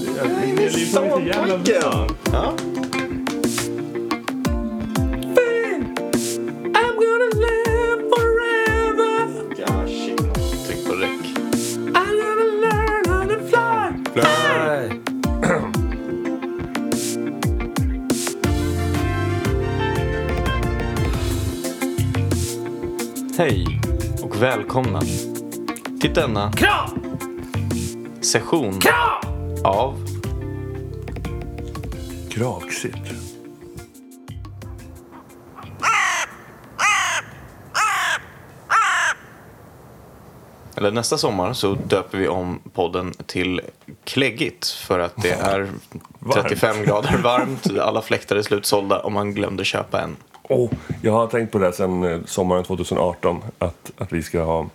det är så jävla bra. Ja. I'm gonna live forever. Ja, shit. Tryck på räck. I'm gonna learn how to fly. Nej. Hej och välkomna till denna Kram! session Kram! av Kraxigt. Eller nästa sommar så döper vi om podden till Kläggigt för att det är 35 grader varmt, alla fläktar är slutsålda och man glömde köpa en. Oh, jag har tänkt på det sen eh, sommaren 2018 att, att vi ska ha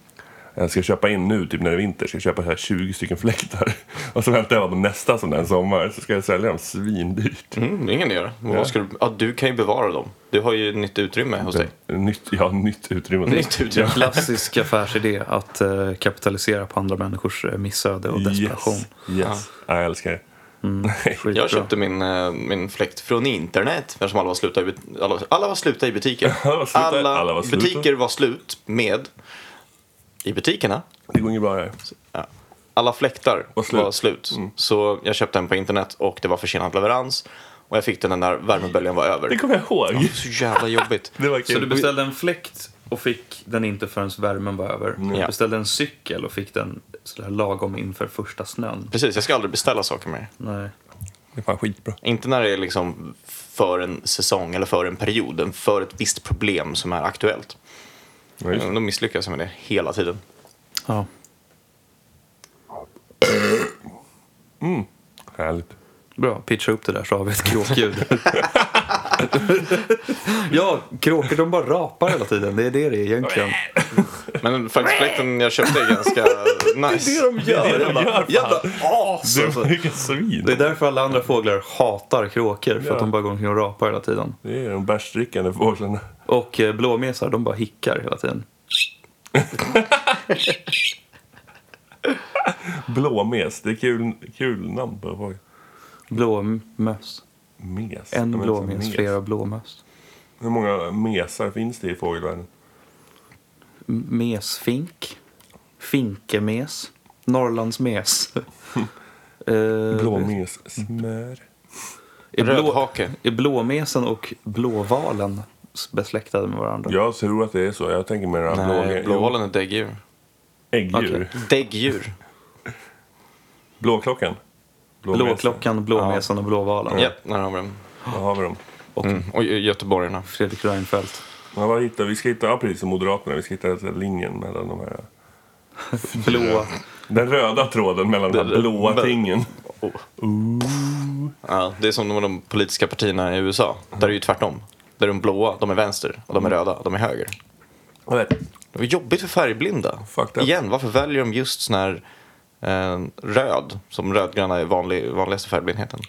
jag ska köpa in nu, typ när det är vinter, ska jag köpa så här 20 stycken fläktar. Och så väntar jag på nästa sån där sommar, så ska jag sälja dem svindyrt. Mm, det är ingen idé. Men Vad ska du, ja, du kan ju bevara dem. Du har ju nytt utrymme hos dig. Nytt, ja, nytt utrymme. Nytt utrymme. Klassisk affärsidé att eh, kapitalisera på andra människors eh, missöde och desperation. Yes, yes. Ja. jag älskar det. Skitbra. Jag köpte min, eh, min fläkt från internet eftersom alla var sluta i, but- alla, alla var sluta i butiker. Alla var sluta, alla var sluta. butiker var slut med i butikerna. Det går inget bra här. Ja. Alla fläktar var slut. Mm. slut. Så jag köpte den på internet och det var försenad leverans. Och jag fick den när värmeböljan var över. Det kommer jag ihåg. Så jävla jobbigt. Det var Så du kul. beställde en fläkt och fick den inte förrän värmen var över. Du Ja. beställde en cykel och fick den sådär lagom inför första snön. Precis, jag ska aldrig beställa saker mer. Nej. Det är fan skitbra. Inte när det är liksom för en säsong eller för en period, men för ett visst problem som är aktuellt. Ja, just. det. Då misslyckas jag med det hela tiden. Ja. Härligt. Bra, pitcha upp det där så har vi ett kråkljud. ja, kråkor de bara rapar hela tiden. Det är det det är egentligen. Men faktiskt fläkten jag köpte är ganska nice. de gör. Det är det de jävla- gör, fan. jävla as! Du, alltså. vilket svin. Det är därför alla andra fåglar hatar kråkor. För Ja. att de bara går omkring och rapar hela tiden. Det är de bärsdrickande fåglarna. Och eh, blåmesar, de bara hickar hela tiden. Blåmes, det är kul, kul namn på fågel. Blåmöss. Mes. En Ja, men liksom alltså, blåmes, mes. flera blåmöss. Hur många mesar finns det i fågelvärlden? M- Mesfink. Finkemes. Norrlandsmes. Eh, Blåmes. Smör. Är, blå, Rödhake. är blåmesen och blåvalen s- besläktade med varandra? Jag tror att det är så. Jag tänker mer att Nej, blå... blåvalen är däggdjur. Äggdjur. Okej. Däggdjur? Blåklockan. Blåmesar. Blåklockan, blåmesen och blåvalen. Ja, Mm. där har vi den. Vad har vi dem? Mm. Och göteborgarna. Fredrik Reinfeldt. Ja, vad hittar vi? vi? ska hitta, ja, precis som Moderaterna, vi ska hitta så här linjen mellan de här... Blå. Den röda tråden mellan de här Det- det- blåa men- tingen. Ja, det är som de, de politiska partierna i USA. Där är det ju tvärtom. Där de blåa, de är vänster. Och de är röda, de är höger. Jag vet. Det var jobbigt för färgblinda. Fucked up. Igen, varför väljer de just sån här eh, röd? Som rödgröna är vanlig, vanligaste färgblindheten.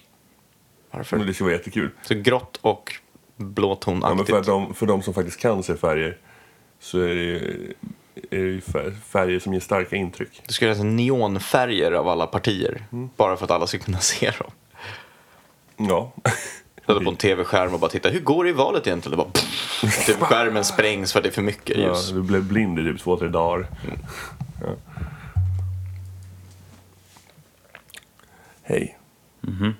Men Varför? det skulle vara jättekul. Så grått och Mm. Ja, men blåtonaktigt. för, att de, för de som faktiskt kan se färger så är det ju, är det ju fär- färger som ger starka intryck. Det ska göras neonfärger av alla partier. Bara för att alla ska kunna se dem. Ja. Sätta på en tv-skärm och bara titta, hur går det i valet egentligen? Och bara, pff, typ skärmen sprängs för att det är för mycket ja ljus. du blev blind i typ två, tre dagar. Ja. Hej. Mhm. Mhm.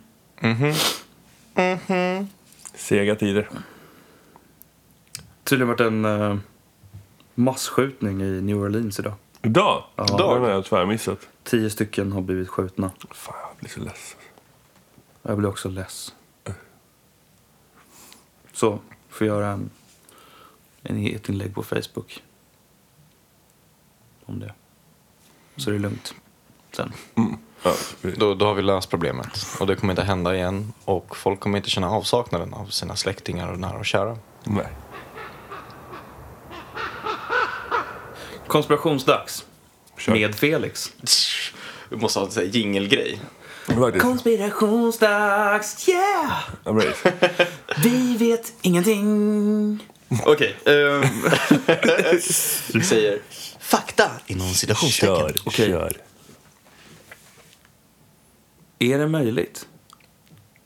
Sega tider. Tydligen varit en eh, masskjutning i New Orleans idag. Idag! Dag. Den har jag tvärmissat. Tio stycken har blivit skjutna. Fan, jag blir så ledsen. Jag blir också less. Så, får göra en, en, ett inlägg på Facebook. Om det. Så det är lugnt. Sen. Ja, precis. Då, då har vi löst problemet. Och det kommer inte hända igen. Och folk kommer inte känna avsaknaden av sina släktingar och nära och kära. Nej. Konspirationsdags. Kör. Med Felix. Vi måste ha en sån här jingelgrej. Faktiskt. Konspirationsdags, yeah! Ja, precis. Vi vet ingenting. Okej. ehm, Vi ehm, säger fakta inom citationstecken. Kör, Okej. kör. är det möjligt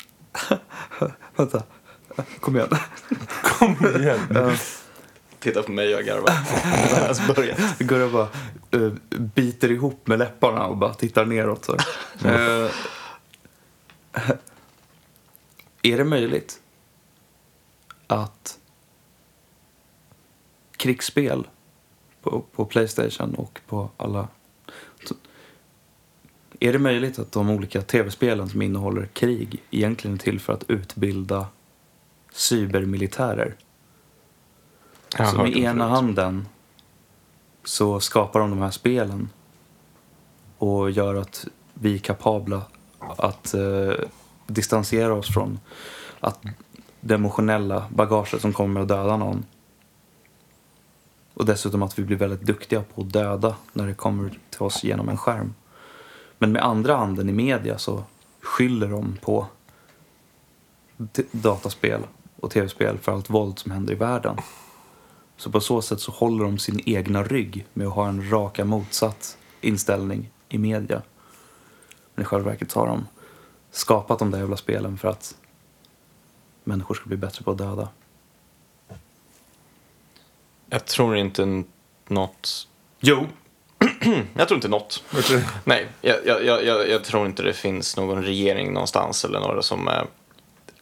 Vänta. Kom igen. Kom Mm. igen. Titta på mig, jag garvar. Jag har ens börjat. Gurra bara eh, biter ihop med läpparna och bara tittar neråt. Så. Eh, är det möjligt att krigsspel på, på Playstation och på alla... Är det möjligt att de olika tv-spelen som innehåller krig egentligen är till för att utbilda cybermilitärer? Jag har Så Alltså, med hört det ena förut. handen så skapar de de här spelen och gör att vi är kapabla att eh, distansera oss från att det emotionella bagaget som kommer att döda någon. Och dessutom att vi blir väldigt duktiga på att döda när det kommer till oss genom en skärm. Men med andra handen i media så skyller de på d- dataspel och tv-spel för allt våld som händer i världen. Så på så sätt så håller de sin egna rygg med att ha en raka motsatt inställning i media. Men i själva verket så har de skapat de där jävla spelen för att människor ska bli bättre på att döda. Jag tror inte n- något... Jo! Jag tror inte något. Nej, jag, jag, jag- jag, jag tror inte det finns någon regering någonstans eller några som eh,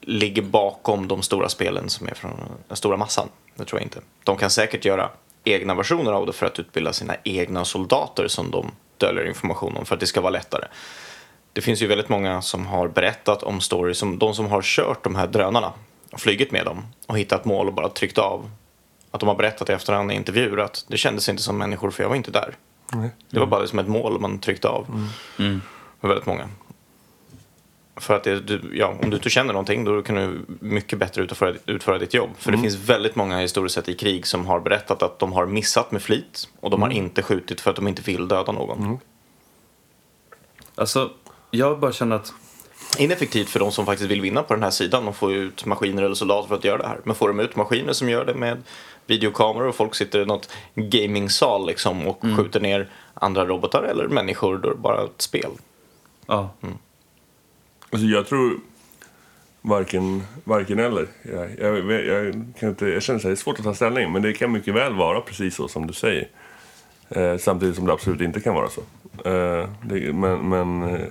ligger bakom de stora spelen som är från den stora massan. Det tror jag inte. De kan säkert göra egna versioner av det för att utbilda sina egna soldater som de döljer information om för att det ska vara lättare. Det finns ju väldigt många som har berättat om stories, som de som har kört de här drönarna och flugit med dem och hittat mål och bara tryckt av. Att de har berättat i efterhand i intervjuer att det kändes inte som människor för jag var inte där. Nej. Det var bara som ett mål man tryckte av. För väldigt många. För att det, du, ja, om du inte känner någonting då kan du mycket bättre utföra, utföra ditt jobb. För det finns väldigt många historiskt sett i krig som har berättat att de har missat med flit och de har inte skjutit för att de inte vill döda någon. Alltså, jag bara känner att Ineffektivt för de som faktiskt vill vinna på den här sidan och få ut maskiner eller soldater för att göra det här. Men får de ut maskiner som gör det med videokameror och folk sitter i något gamingsal liksom och skjuter ner andra robotar eller människor, då är det bara ett spel. ja, Alltså jag tror varken, varken eller. Jag, jag, vet- jag, kan inte, jag känner att det är svårt att ta ställning, men det kan mycket väl vara precis så som du säger. Eh, samtidigt som det absolut inte kan vara så. Eh, det, men men eh,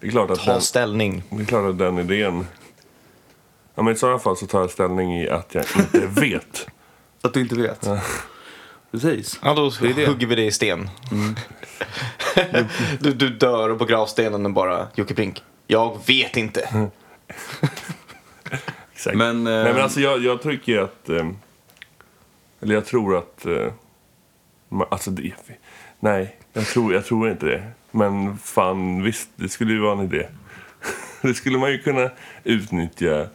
det, är klart att Ta den, ställning. det är klart att den idén... Ja, men I sådana fall så tar jag ställning i att jag inte vet. att du inte vet. Precis. Ja, då hugger vi det Mm. i sten. du, du dör och på gravstenen och bara Jocke Brink, jag vet inte. Exakt. Men, eh, Nej, men alltså jag, jag tycker ju att... Eh, eller jag tror att... Eh, ma- alltså det, nej, jag tror, jag tror inte det. Men fan, visst, det skulle ju vara en idé. det skulle man ju kunna utnyttja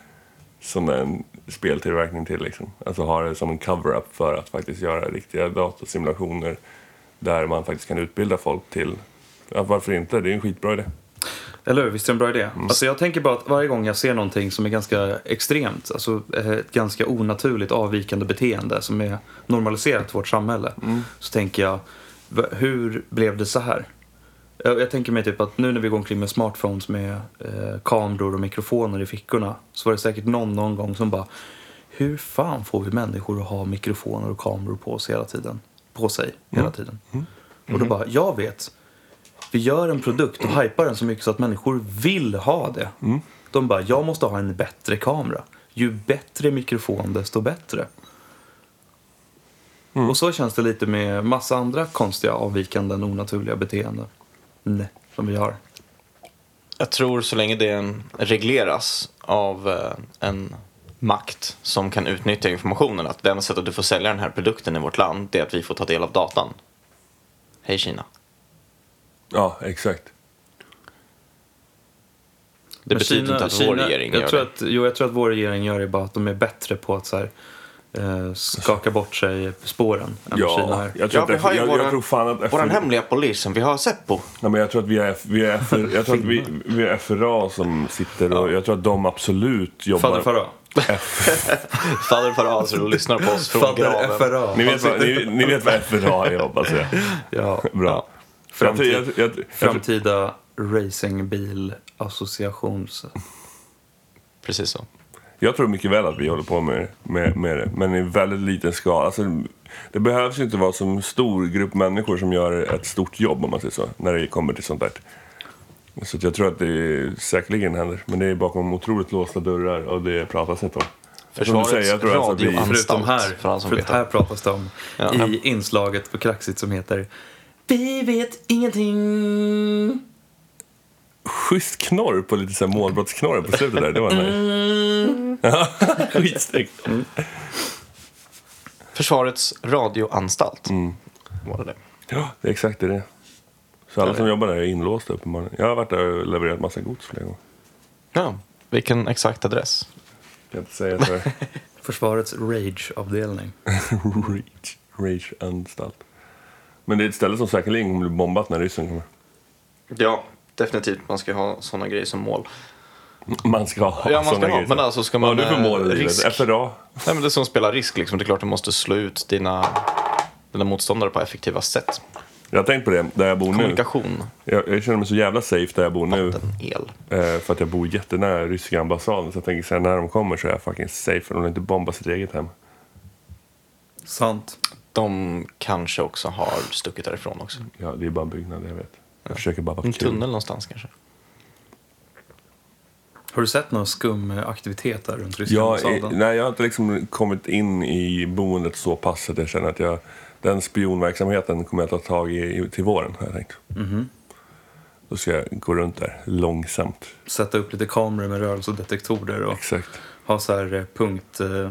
sån där en speltillverkning till. Liksom. Alltså ha det som en cover-up för att faktiskt göra riktiga datorsimulationer där man faktiskt kan utbilda folk till... Ja, varför inte? Det är en skitbra idé. Eller hur? Visst är det en bra idé? Alltså jag tänker bara att varje gång jag ser någonting som är ganska extremt, alltså eh, ett ganska onaturligt avvikande beteende som är normaliserat i vårt samhälle, så tänker jag, "Va- hur blev det så här? Jag, jag tänker mig typ att nu när vi går omkring med smartphones med eh, kameror och mikrofoner i fickorna, så var det säkert någon någon gång som bara, hur fan får vi människor att ha mikrofoner och kameror på sig hela tiden? På sig hela tiden. Och då bara, jag vet. Vi gör en produkt och hypar den så mycket så att människor vill ha det. Mm. De bara, jag måste ha en bättre kamera. Ju bättre mikrofon, desto bättre. Mm. Och så känns det lite med massa andra konstiga, avvikande, onaturliga beteenden. Nej, som vi har. Jag tror så länge det regleras av eh, en makt som kan utnyttja informationen, att det enda sättet du får sälja den här produkten i vårt land, det är att vi får ta del av datan. Hej Kina. Ja, exakt. Det Men betyder inte att vår regering jag gör tror det. Att, jo, jag tror att vår regering gör det bara att de är bättre på att så här, eh, skaka bort sig spåren än vad Kina Ja, är. jag tror, att jag, jag, jag tror fan att våran FN hemliga polisen, vi har Seppo. Nej, men jag tror att vi är, vi är, F- jag tror att vi, vi är FRA som sitter och jag tror att de absolut jobbar... Fader Farah. Fader Faraz och lyssnar på oss från Fader graven. FRA. Ni vet, vad, ni, ni vet vad FRA är hoppas jag. Ja. Bra. Jag tror- Framtid. jag- jag- jag tror- Framtida racingbilassociations... Precis så. Jag tror mycket väl att vi håller på med, med, med det, men i väldigt liten skala. Alltså, det behövs ju inte vara som stor grupp människor som gör ett stort jobb, om man säger så, när det kommer till sånt där. Så att jag tror att det säkerligen händer, men det är bakom otroligt låsta dörrar och det pratas inte om. Som du säger, jag tror alltså att vi- radioanstalt, Förutom här, för han som för vet här det. pratas det om Ja. i inslaget på Kraxigt som heter Vi vet ingenting. Schysst knorr på lite så här målbrottsknorr på slutet där, det var nice. Ja, Mm. Skitsnyggt. Försvarets radioanstalt. Var det det? Ja, det är exakt det det är. Så alla som jobbar där är inlåsta uppenbarligen. Jag har varit där och levererat massa gods flera gånger. Ja. Vilken exakt adress? Kan inte säga så här. Försvarets rage-avdelning. Rage. Rage anstalt. Men det är ett ställe som säkerligen kommer bli bombat när ryssen kommer. Ja, definitivt. Man ska ha sådana grejer som mål. Man ska ha Ja, man ska såna ha, grejer. men alltså ska Vad har man, du för mål i eh, livet? risk? FRA? Nej, men det är som spelar risk. Liksom. Det är klart du måste slå ut dina, dina motståndare på effektiva sätt. Jag har tänkt på det, där jag bor nu. Kommunikation, Jag, jag känner mig så jävla safe där jag bor nu. vatten, el. Eh, för att jag bor jättenära ryska ambassaden. Så jag tänker så här, när de kommer så är jag fucking safe. För de vill inte bomba sitt eget hem. Sant. De kanske också har stuckit därifrån också. Ja, det är bara en byggnad, jag vet. Jag försöker bara vara En kul. tunnel någonstans kanske. Har du sett någon skum aktivitet där runt ryska Jag, är- ambassaden? nej, jag har inte liksom kommit in i boendet så pass att jag känner att jag, den spionverksamheten kommer jag ta tag i i- till våren, har jag tänkt. Mhm. Då ska jag gå runt där långsamt. Sätta upp lite kameror med rörelsedetektorer och Exakt. ha så här eh, punkt, eh,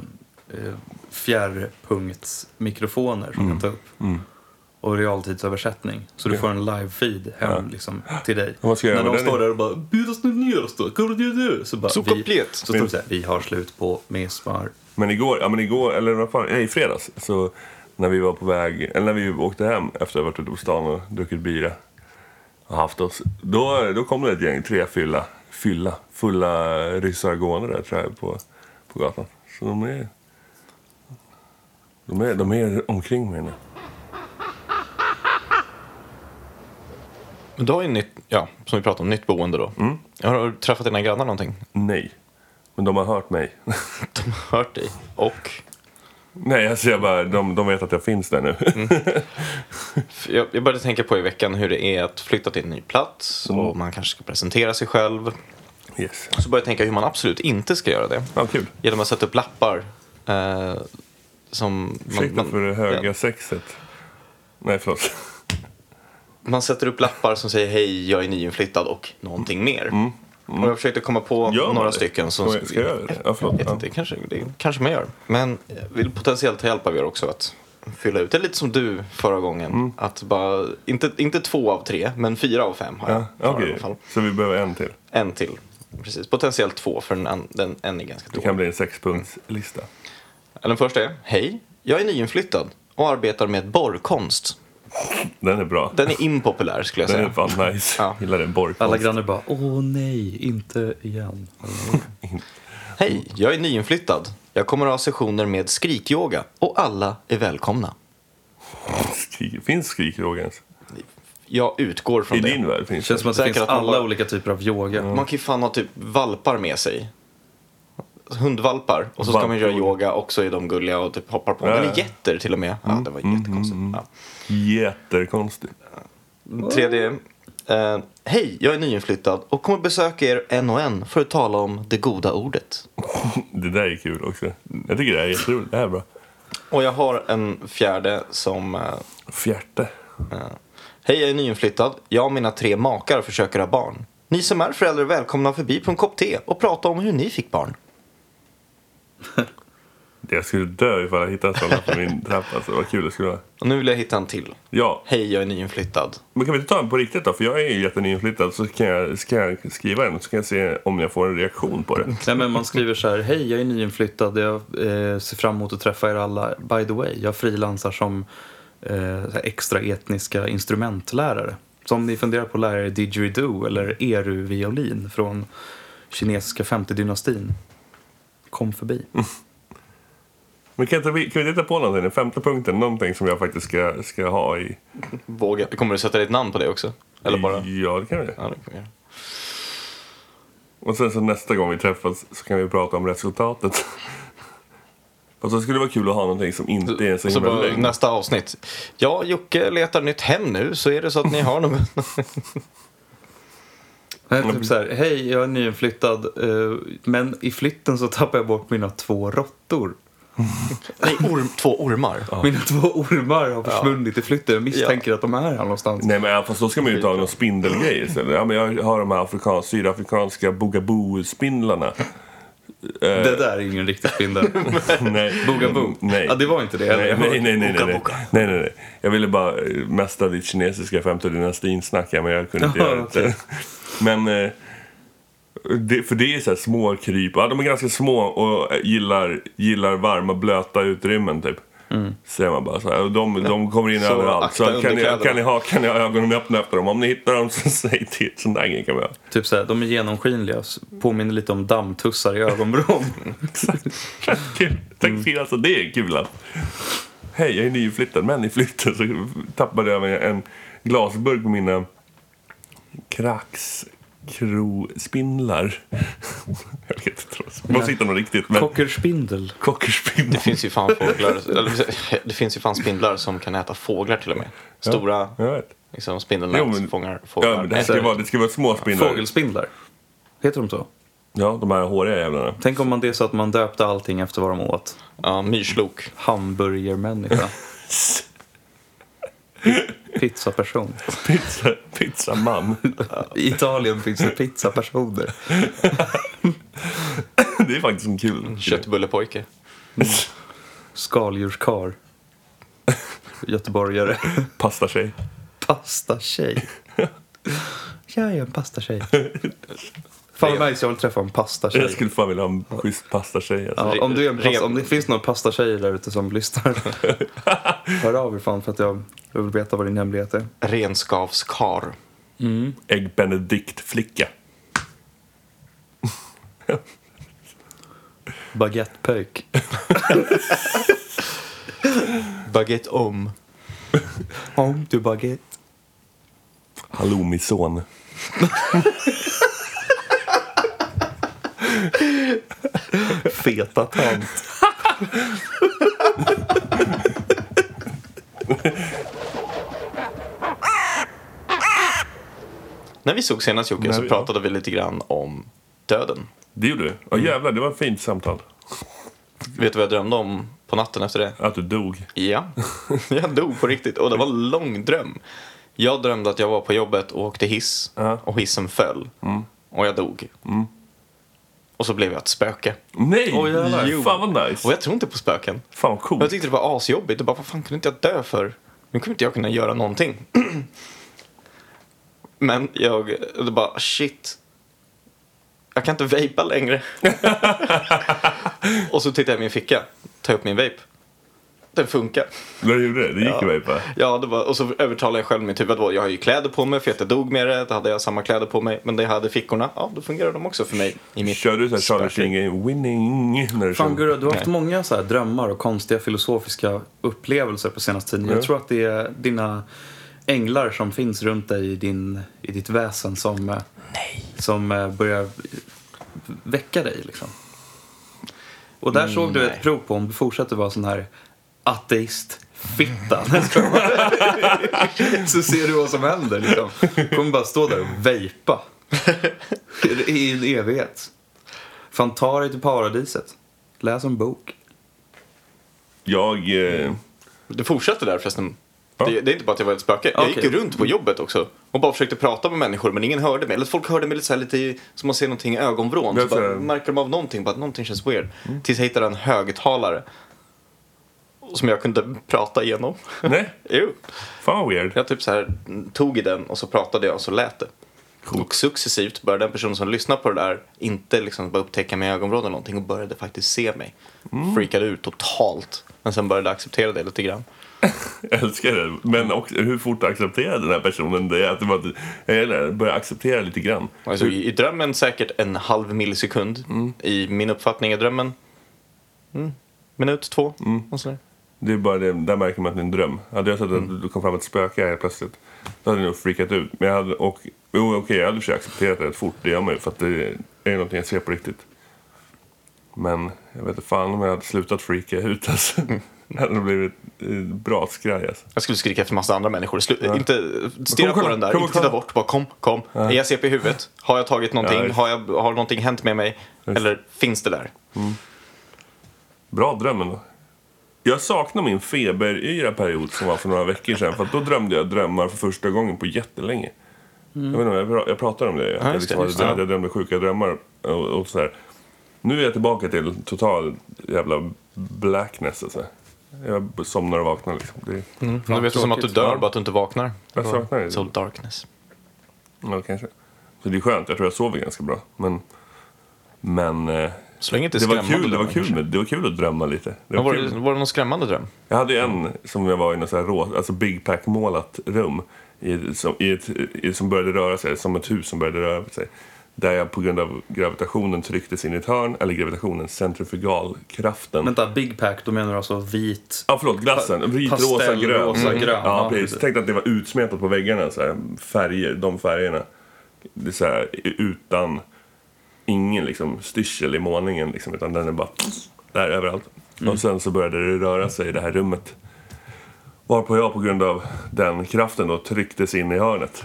eh, fjärrpunktsmikrofoner som Mm. kan ta upp. Och realtidsöversättning. Så du får en live-feed hem liksom, till dig. Och vad ska jag När göra de med den? står där och bara “Bjudas nu ner oss då? Kommer du nu?” Så bara Så vi, komplett. så står det Mm. så här, “Vi har slut på mesmar”. Men igår, ja men igår, eller vad fan, nej, i fredags, så när vi var på väg, eller när vi åkte hem efter att ha varit ute på stan och druckit bira och haft oss, då, då kom det ett gäng, tre fylla, fylla, fulla ryssar gående där tror jag, på, på gatan. Så de är, de är, de är omkring mig nu. Men du har ju nytt, ja, som vi pratade om, nytt boende då. Har du träffat dina grannar någonting? Nej. Men de har hört mig. De har hört dig. Och Nej, alltså jag bara, de, de vet att jag finns där nu. Mm. För Jag, jag började tänka på i veckan hur det är att flytta till en ny plats och man kanske ska presentera sig själv. Yes. Så började jag tänka hur man absolut inte ska göra det. Ja, kul. Genom att sätta upp lappar. Eh, som man, Ursäkta man, för det höga ja, sexet. Nej, förlåt. man sätter upp lappar som säger hej, jag är nyinflyttad och någonting mer. Och jag försökte komma på Mm. Gör man några det? stycken. Som, Ska jag- ska jag göra det? Ja, förlåt. Jag vet Ja. inte, kanske, det kanske man gör. Men jag vill potentiellt ta hjälp av er också att fylla ut. Det är lite som du förra gången. Mm. Att bara, inte, inte två av tre, men fyra av fem har jag. Ja, klarat i Okej, alla fall. så vi behöver en till. En till. Precis. Potentiellt två, för den, an- den en är ganska Det dålig. kan bli en sexpunktslista. Den första är, hej, jag är nyinflyttad och arbetar med borrkonst. Den är bra. Den är impopulär skulle jag Den är säga. fan nice. Ja. Gillar den Alla borrkonst. grannar bara “Åh nej, inte Mm. igen”. Hej, jag är nyinflyttad. Jag kommer att ha sessioner med skrikyoga och alla är välkomna. Skri- Finns skrikyoga ens? Jag utgår från I det. din värld Det finns känns det. som att det Säkert finns att man alla bara- olika typer av yoga. Mm. Man kan ju fan ha typ valpar med sig. Hundvalpar. Och så ska man göra Valpar. yoga och så är de gulliga och typ hoppar på. Ja, ja. Mm. Eller getter till och med. Ja, det var jättekonstigt. Ja. Jättekonstigt. mm. Tredje. Eh, Hej, jag är nyinflyttad och kommer besöka er en och en för att tala om det goda ordet. Det där är kul också. Jag tycker det här är jätteroligt. Det här är bra. Och jag har en fjärde som... eh, Fjärte. eh, Hej, jag är nyinflyttad. Jag och mina tre makar försöker ha barn. Ni som är föräldrar är välkomna förbi på en kopp te och prata om hur ni fick barn. Jag skulle dö ifall jag hittade sådana på min trappa. Alltså, vad kul det skulle vara. Och nu vill jag hitta en till. Ja, Hej, jag är nyinflyttad. men kan vi inte ta en på riktigt då? För jag är ju jättenyinflyttad. Så kan jag, ska jag skriva den så kan jag se om jag får en reaktion på det. Nej, men man skriver så här, hej jag är nyinflyttad, jag eh, ser fram emot att träffa er alla. By the way, jag frilansar som eh, så här extra etniska instrumentlärare. Så om ni funderar på att lära er didgeridoo eller eru-violin från kinesiska 50-dynastin, kom förbi. Men kan, inte, vi- kan vi titta på någonting? Den femte punkten. Någonting som jag faktiskt ska, ska ha i... Våga. Kommer du sätta ditt namn på det också? Eller bara... Ja, det kan vi. Ja, det kommer jag göra. Och sen så nästa gång vi träffas så kan vi prata om resultatet. Och så skulle det vara kul att ha någonting som inte är så Så himla bara, lögn. nästa avsnitt. Ja, Jocke letar nytt hem nu, så är det så att ni har någon... Nej, typ så här, hej, jag är nyinflyttad, eh, men i flytten så tappar jag bort mina två råttor. Nej, orm, två ormar. Mina två ormar har försvunnit i flytten. Jag misstänker att de är här någonstans. Nej men ja, fast då ska man ju ta någon spindelgrej istället. Ja men jag har de här afrikan- sydafrikanska bugaboo-spindlarna. Det där är ingen riktig spindel. Nej. Bugaboo. Nej. Ja, det var inte det heller. Nej, nej, nej, nej, nej, nej. Boka, boka. nej, nej, nej. Jag ville bara eh, mästra ditt kinesiska femte dynastinsnack här, men jag kunde inte Ja, göra det. okej. Men, eh, det, för det är så här små kryp. Ja, de är ganska små och eh, gillar, gillar varma, blöta utrymmen typ. Mm. Så är man bara så här. Och De, de kommer in Så överallt. akta Så kan ni, underkläderna. kan, ni ha, kan ni ha ögonen öppna efter dem? Om ni hittar dem så säg till. Sån där grej kan man göra. Typ så här, de är genomskinliga. s- Påminner lite om dammtussar i ögonvrån. Kul. Tack Mm. så mycket. Alltså, det är kul att... Hej, jag är nyinflyttad, men i flytten så tappade jag en glasburk på mina kraxkrospindlar. Jag vet inte. vad som- Vad sitter de riktigt? Men Cockerspindel. kockerspindlar. Det finns ju fan fåglar, eller, det finns ju fan spindlar som kan äta fåglar till och med. Stora Jag vet. liksom, Jo, spindelnät men- som fångar Ja, fåglar. Alltså, men det, ska vara, det ska vara små spindlar. Fågelspindlar. Heter de så? Ja, de här håriga jävlarna. Tänk om man det är så att man döpte allting efter vad de åt. ja, myrslok. Hamburgermänniska. Pizzaperson. Pizza, pizzaman. I Italien finns det pizzapersoner. Det är faktiskt en kul Köttbullepojke. Skaldjurskar. Göteborgare. Pastar-tjej. Pastatjej. Jag är en pastatjej. Fan vad nice, jag vill träffa en Jag pastatjej. skulle fan vilja ha en schysst pastar-tjej. Alltså. Ja, om, du är en Rev- pasta, om det finns några pastatjejer där ute som lyssnar. Hör av er fan för att jag, jag vill veta vad din hemlighet är. Renskavskar. Egg Benedict-flicka. Baguettepöjk. Baguette om. Om du baguette. Halloumison. Feta tant. När vi såg senast Jocke När så vi- pratade vi lite grann om döden. Det gjorde du? Ja jävlar, det var ett fint samtal. Vet du vad jag drömde om på natten efter det? Att du dog. Ja, jag dog på riktigt och det var en lång dröm. Jag drömde att jag var på jobbet och åkte hiss Ja. och hissen föll och jag dog. Och så blev jag ett spöke. Nej! Åh, jävlar. Jo. Fan vad Och nice. jag tror inte på spöken. Fan vad Jag coolt. tyckte det var asjobbigt och bara, vad fan kunde inte jag dö för? Nu kommer inte jag kunna göra någonting. Men jag, det bara, shit. Jag kan inte vejpa längre. och så tittar jag i min ficka, tar upp min vape. Den funkar. Det gjorde det. Det gick Ja. ju mig på. Ja, det var, och så övertalade jag själv mitt huvud. att Jag har ju kläder på mig för att jag dog med det. Då hade jag samma kläder på mig. Men det jag hade i fickorna, ja då fungerar de också för mig. I mitt Kör du såhär Charlie spöke. King winning när du kör? Fan Gurra, du har haft många så här drömmar och konstiga filosofiska upplevelser på senaste tiden. Ja. Jag tror att det är dina änglar som finns runt dig i, din, i ditt väsen som, eh, som eh, börjar väcka dig. Liksom. Och där såg du nej. ett prov på om du fortsätter vara sån här ateist fitta. Nej, jag skojar. så ser du vad som händer. Liksom. Du kommer bara stå där och vejpa i en evighet. Fan, ta dig till paradiset. Läs en bok. Jag... Eh, Det fortsatte där förresten. Ja. Det, det är inte bara att jag var ett spöke. Jag gick Okej. ju runt på jobbet också. Och bara försökte prata med människor men ingen hörde mig. Eller folk hörde mig lite så här lite i- som man ser någonting i ögonvrån. Det Så är så bara här- märker de av någonting. Bara, någonting känns weird. Mm. Tills jag hittade en högtalare. Som jag kunde prata igenom. nej, Jo. fan vad weird. Jag typ så här tog i den och så pratade jag och så lät det. Och successivt började den person som lyssnade på det där inte liksom bara upptäcka mig i ögonvrån eller någonting och började faktiskt se mig. Mm. Freakade ut totalt. Men sen började acceptera det lite grann. Jag älskar det. Men också, hur fort accepterade den här personen det? Att det var, eller börja acceptera lite grann. Alltså, Mm. i, I drömmen säkert en halv millisekund. I min uppfattning är drömmen mm, minut, två. Mm. Och sådär. Det är bara det, där märker man att det är en dröm. Hade jag sett att det kom fram ett spöke här helt plötsligt, då hade jag nog freakat ut. Men jag hade, och, jo, okej, jag hade försökt acceptera det rätt fort, det gör man ju. För att det, är det någonting jag ser på riktigt. Men jag vet inte fan om jag hade slutat freaka ut alltså. Det hade blivit eh, bra skraj alltså. Jag skulle skrika efter massa andra människor. Slu- Inte stirra Kom, kolla, på den där, kom, inte kolla. titta bort. Bara kom, kom. Är jag CP i huvudet? Har jag tagit Ja, någonting? just. har, jag, har någonting hänt med mig? Eller finns det där? Bra dröm ändå. Jag saknar min feberyra period som var för några veckor sedan. För att då drömde jag drömmar för första gången på jättelänge. Jag, vet inte, om jag, pra- jag pratade om det. Att Ja, jag, just det, liksom, hade- just det. att jag drömde sjuka drömmar. Och, och så här. Nu är jag tillbaka till total jävla blackness. Alltså. Jag somnar och vaknar liksom. Det, Du vet det är som att du tråkigt. dör, Ja. bara att du inte vaknar. jag saknar det. So darkness. Ja, kanske. Så det är skönt. Jag tror jag sover ganska bra. Men, men eh, Så länge inte det, var skrämmande kul, det, var drömmar, kul kanske. med, det var kul att drömma lite. Det Men var Var kul. det, var det någon skrämmande dröm? Jag hade ju en som jag var i något så här rå, alltså big pack målat rum i, som, i ett, i, som började röra sig, som ett hus som började röra sig. Där jag på grund av gravitationen trycktes in i ett hörn, eller gravitationen, centrifugalkraften. Vänta, Big Pack, då menar du alltså vit? Ja, förlåt, glassen. Vit, rosa, Pastell, grön. Mm. rosa, grön. Ja, Ja, precis. precis. Tänk att det var utsmetat på väggarna, så här, färger, de färgerna. Det är så här, utan ingen liksom, styrsel i målningen, liksom, utan den är bara där överallt. Mm. Och sen så började det röra sig i det här rummet. Varpå jag på grund av den kraften då trycktes in i hörnet.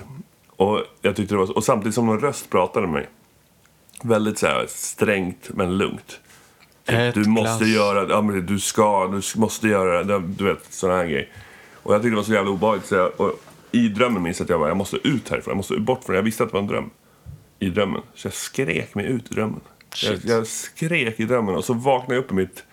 Och, jag tyckte det var, och samtidigt som någon röst pratade med mig. Väldigt så här strängt men lugnt. Ett Du måste glas. göra, ja, men du ska, du s- måste göra, det, du vet sådana här grejer. Och jag tyckte det var så jävla obehagligt så jag, och i drömmen minns jag att jag bara, jag måste ut härifrån, jag måste bort från det. Jag visste att det var en dröm. I drömmen. Så jag skrek mig ut ur drömmen. Jag, Shit. jag skrek i drömmen och så vaknade jag upp i mitt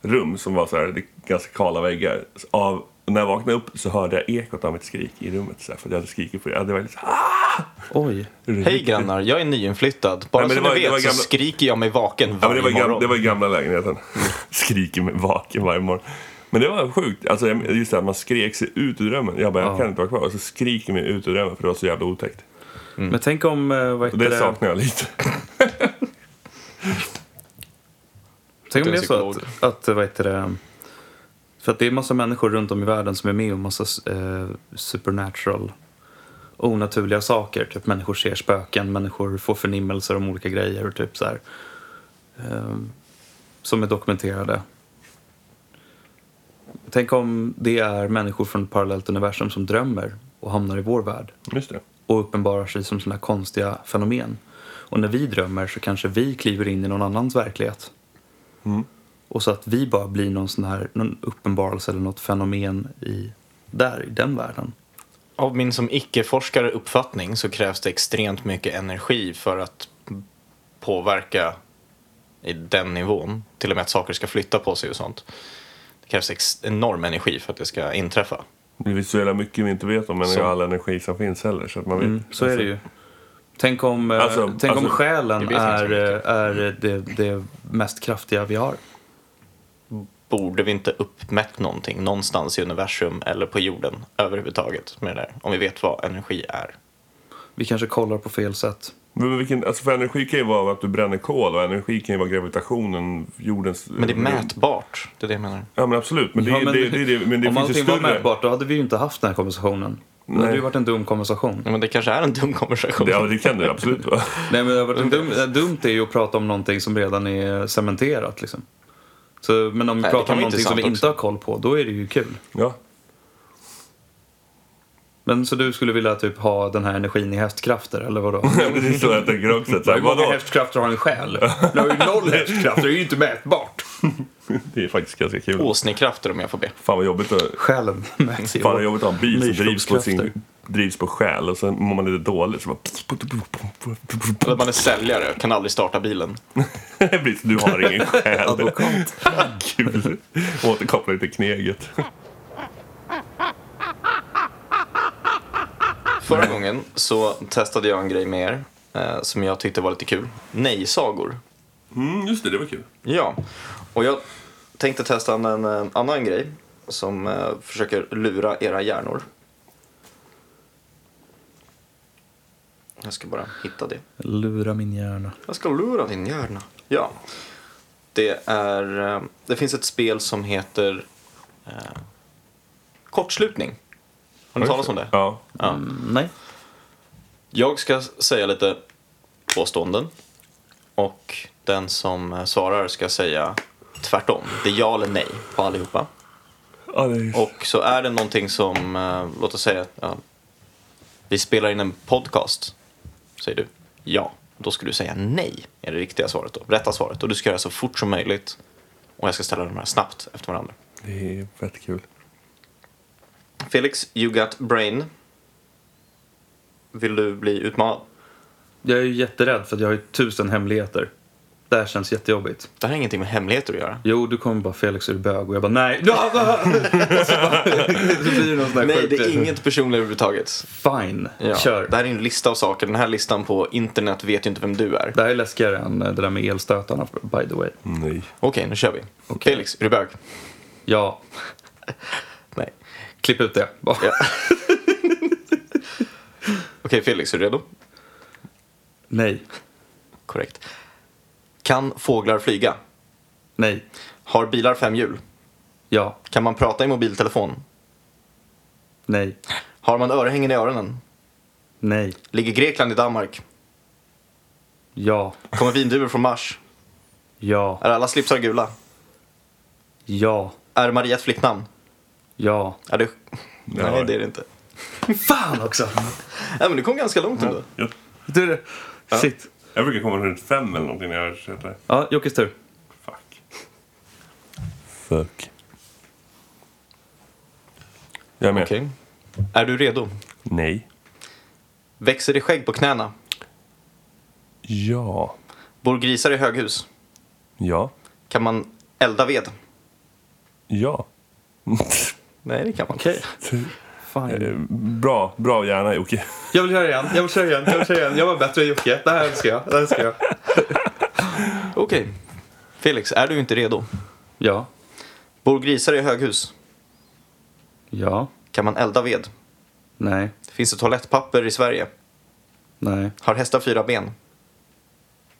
rum som var så här, det är ganska kala väggar. Så Av, när jag vaknade upp så hörde jag ekot av mitt skrik i rummet. Så här, för jag hade skrikit på det. Jag hade verkligen så här, Oj. Hej grannar, jag är nyinflyttad. Bara Nej, men det så var- ni det vet var så gamla- skriker jag mig vaken Ja, men varje det, var i gamla, morgon. det var i gamla lägenheten. Mm. Skriker mig vaken varje morgon. Men det var sjukt. Alltså, jag- just det här, man skrek sig ut ur drömmen. Jag bara, jag kan inte vara kvar. Och så skriker jag mig ut ur drömmen för det var så jävla otäckt. Men tänk om, eh, vad Och heter Mm. det, det? saknar jag lite. Tänk om Du det är är så psykolog. att, att, vad heter det? För att det är massa människor runt om i världen som är med om massa eh, supernatural, onaturliga saker. Typ människor ser spöken, människor får förnimmelser om olika grejer och typ så här. Eh, som är dokumenterade. Tänk om det är människor från ett parallellt universum som drömmer och hamnar i vår värld Just det. och uppenbarar sig som sådana här konstiga fenomen. Och när vi drömmer så kanske vi kliver in i någon annans verklighet. Mm. Och så att vi bara blir någon sån här någon uppenbarelse eller något fenomen i, där, i den världen. Av min som icke-forskare uppfattning så krävs det extremt mycket energi för att påverka i den nivån. Till och med att saker ska flytta på sig och sånt. Det krävs ex- enorm energi för att det ska inträffa. Det finns så jävla mycket vi inte vet om men Så. all energi som finns heller. Så att man vet. Mm, så är det ju. Tänk om, eh, Alltså, tänk alltså, om vi själen vet är, inte så eh, är det, det mest kraftiga vi har. Borde vi inte uppmätt någonting någonstans i universum eller på jorden överhuvudtaget med det där? Om vi vet vad energi är. Vi kanske kollar på fel sätt. Men vilken, alltså för energi kan ju vara att du bränner kol och energi kan ju vara gravitationen, jordens... Men det är mätbart, det är det jag menar. Ja men absolut. Men det, Ja, men, det, det, det, men det om finns ju allting större... var mätbart då hade vi ju inte haft den här konversationen. Då hade Nej. det ju varit en dum konversation. Ja, Men det kanske är en dum konversation. Ja det kan du absolut vara. Nej men det har varit en dum, eh, dumt är ju att prata om någonting som redan är cementerat liksom. Så, men om vi Nej, det pratar kan om vara någonting som vi intressant också. inte har koll på, då är det ju kul. Ja. Men så du skulle vilja typ ha den här energin i hästkrafter, eller vadå? Ja, men Det är så jag tänker också. Så här, Hur många vadå? hästkrafter har en själ? Du har ju noll hästkrafter, det är ju inte mätbart. Det är faktiskt ganska kul. Åsnekrafter om jag får be. Fan vad jobbigt att Själen mäts ju. Fan vad jobbigt att ha en bil som drivs på, sin, Nyskapskrafter. drivs på själ och sen mår man lite dåligt så bara... Eller man är säljare, kan aldrig starta bilen. Precis, du har ingen själ. Advokat. Kul. Återkoppling till kneget. Förra gången så testade jag en grej med er eh, som jag tyckte var lite kul. Nej-sagor. Mm, just det, det var kul. Ja, och jag tänkte testa en, en eh, annan grej som eh, försöker lura era hjärnor. Jag ska bara hitta det. Lura min hjärna. Jag ska lura din hjärna. Ja. Det är... eh, Det finns ett spel som heter eh, Kortslutning. Har ni talat om det? Ja. Mm, nej. Jag ska säga lite påståenden. Och den som svarar ska säga tvärtom. Det är ja eller nej på allihopa. Ja, det är... Och så är det någonting som, eh, låt oss säga, ja, vi spelar in en podcast. Säger du ja. Då ska du säga nej, är det riktiga svaret då. Rätta svaret. Och du ska göra så fort som möjligt. Och jag ska ställa de här snabbt efter varandra. det är fett kul. Felix, you got brain. Vill du bli utmanad? Jag är ju jätterädd för att jag har ju tusen hemligheter. Det här känns jättejobbigt. Det här har ingenting med hemligheter att göra. Jo, du kommer bara Felix är du bög och jag bara nej. Och så bara, det blir det någon sån här Nej, sjuk- det är inget personligt överhuvudtaget. Fine, Ja. kör. Det här är en lista av saker. Den här listan på internet vet ju inte vem du är. Det här är läskigare än eh, det där med elstötarna by the way. Nej. Okej, nu kör vi. Okej. Felix, är du bög? Ja, Nej. klipp ut det. Bara. Ja. Okej, Felix, är du redo? Nej, Korrekt. Kan fåglar flyga? nej, Har bilar fem hjul? ja, Kan man prata i mobiltelefon? nej, Har man örhängen i öronen? nej, Ligger Grekland i Danmark? ja, Kommer vindruvor från Mars? ja, Är alla slipsar gula? ja, Är Maria ett flicknamn? ja. Är det... Nej, Nej. det är det inte. Fan också! Nej, men du kom ganska långt ändå. Jag, Du, shit. jag brukar komma runt fem eller någonting när jag kör det. här. Ja, Jockes tur. Fuck. Fuck. Jag är med. Okej. Är du redo? Nej. Växer det skägg på knäna? Ja. Bor grisar i höghus? Ja. Kan man elda ved? Ja. Nej, det kan man Okej, fine. Eh, bra, bra hjärna Jocke. Jag vill köra igen, jag vill köra igen, jag vill köra igen. Jag var bättre än Jocke. Det här älskar jag, det här älskar jag. Okej. Felix, är du inte redo? Ja, Bor grisar i höghus? ja, Kan man elda ved? nej, Finns det toalettpapper i Sverige? nej, Har hästar fyra ben?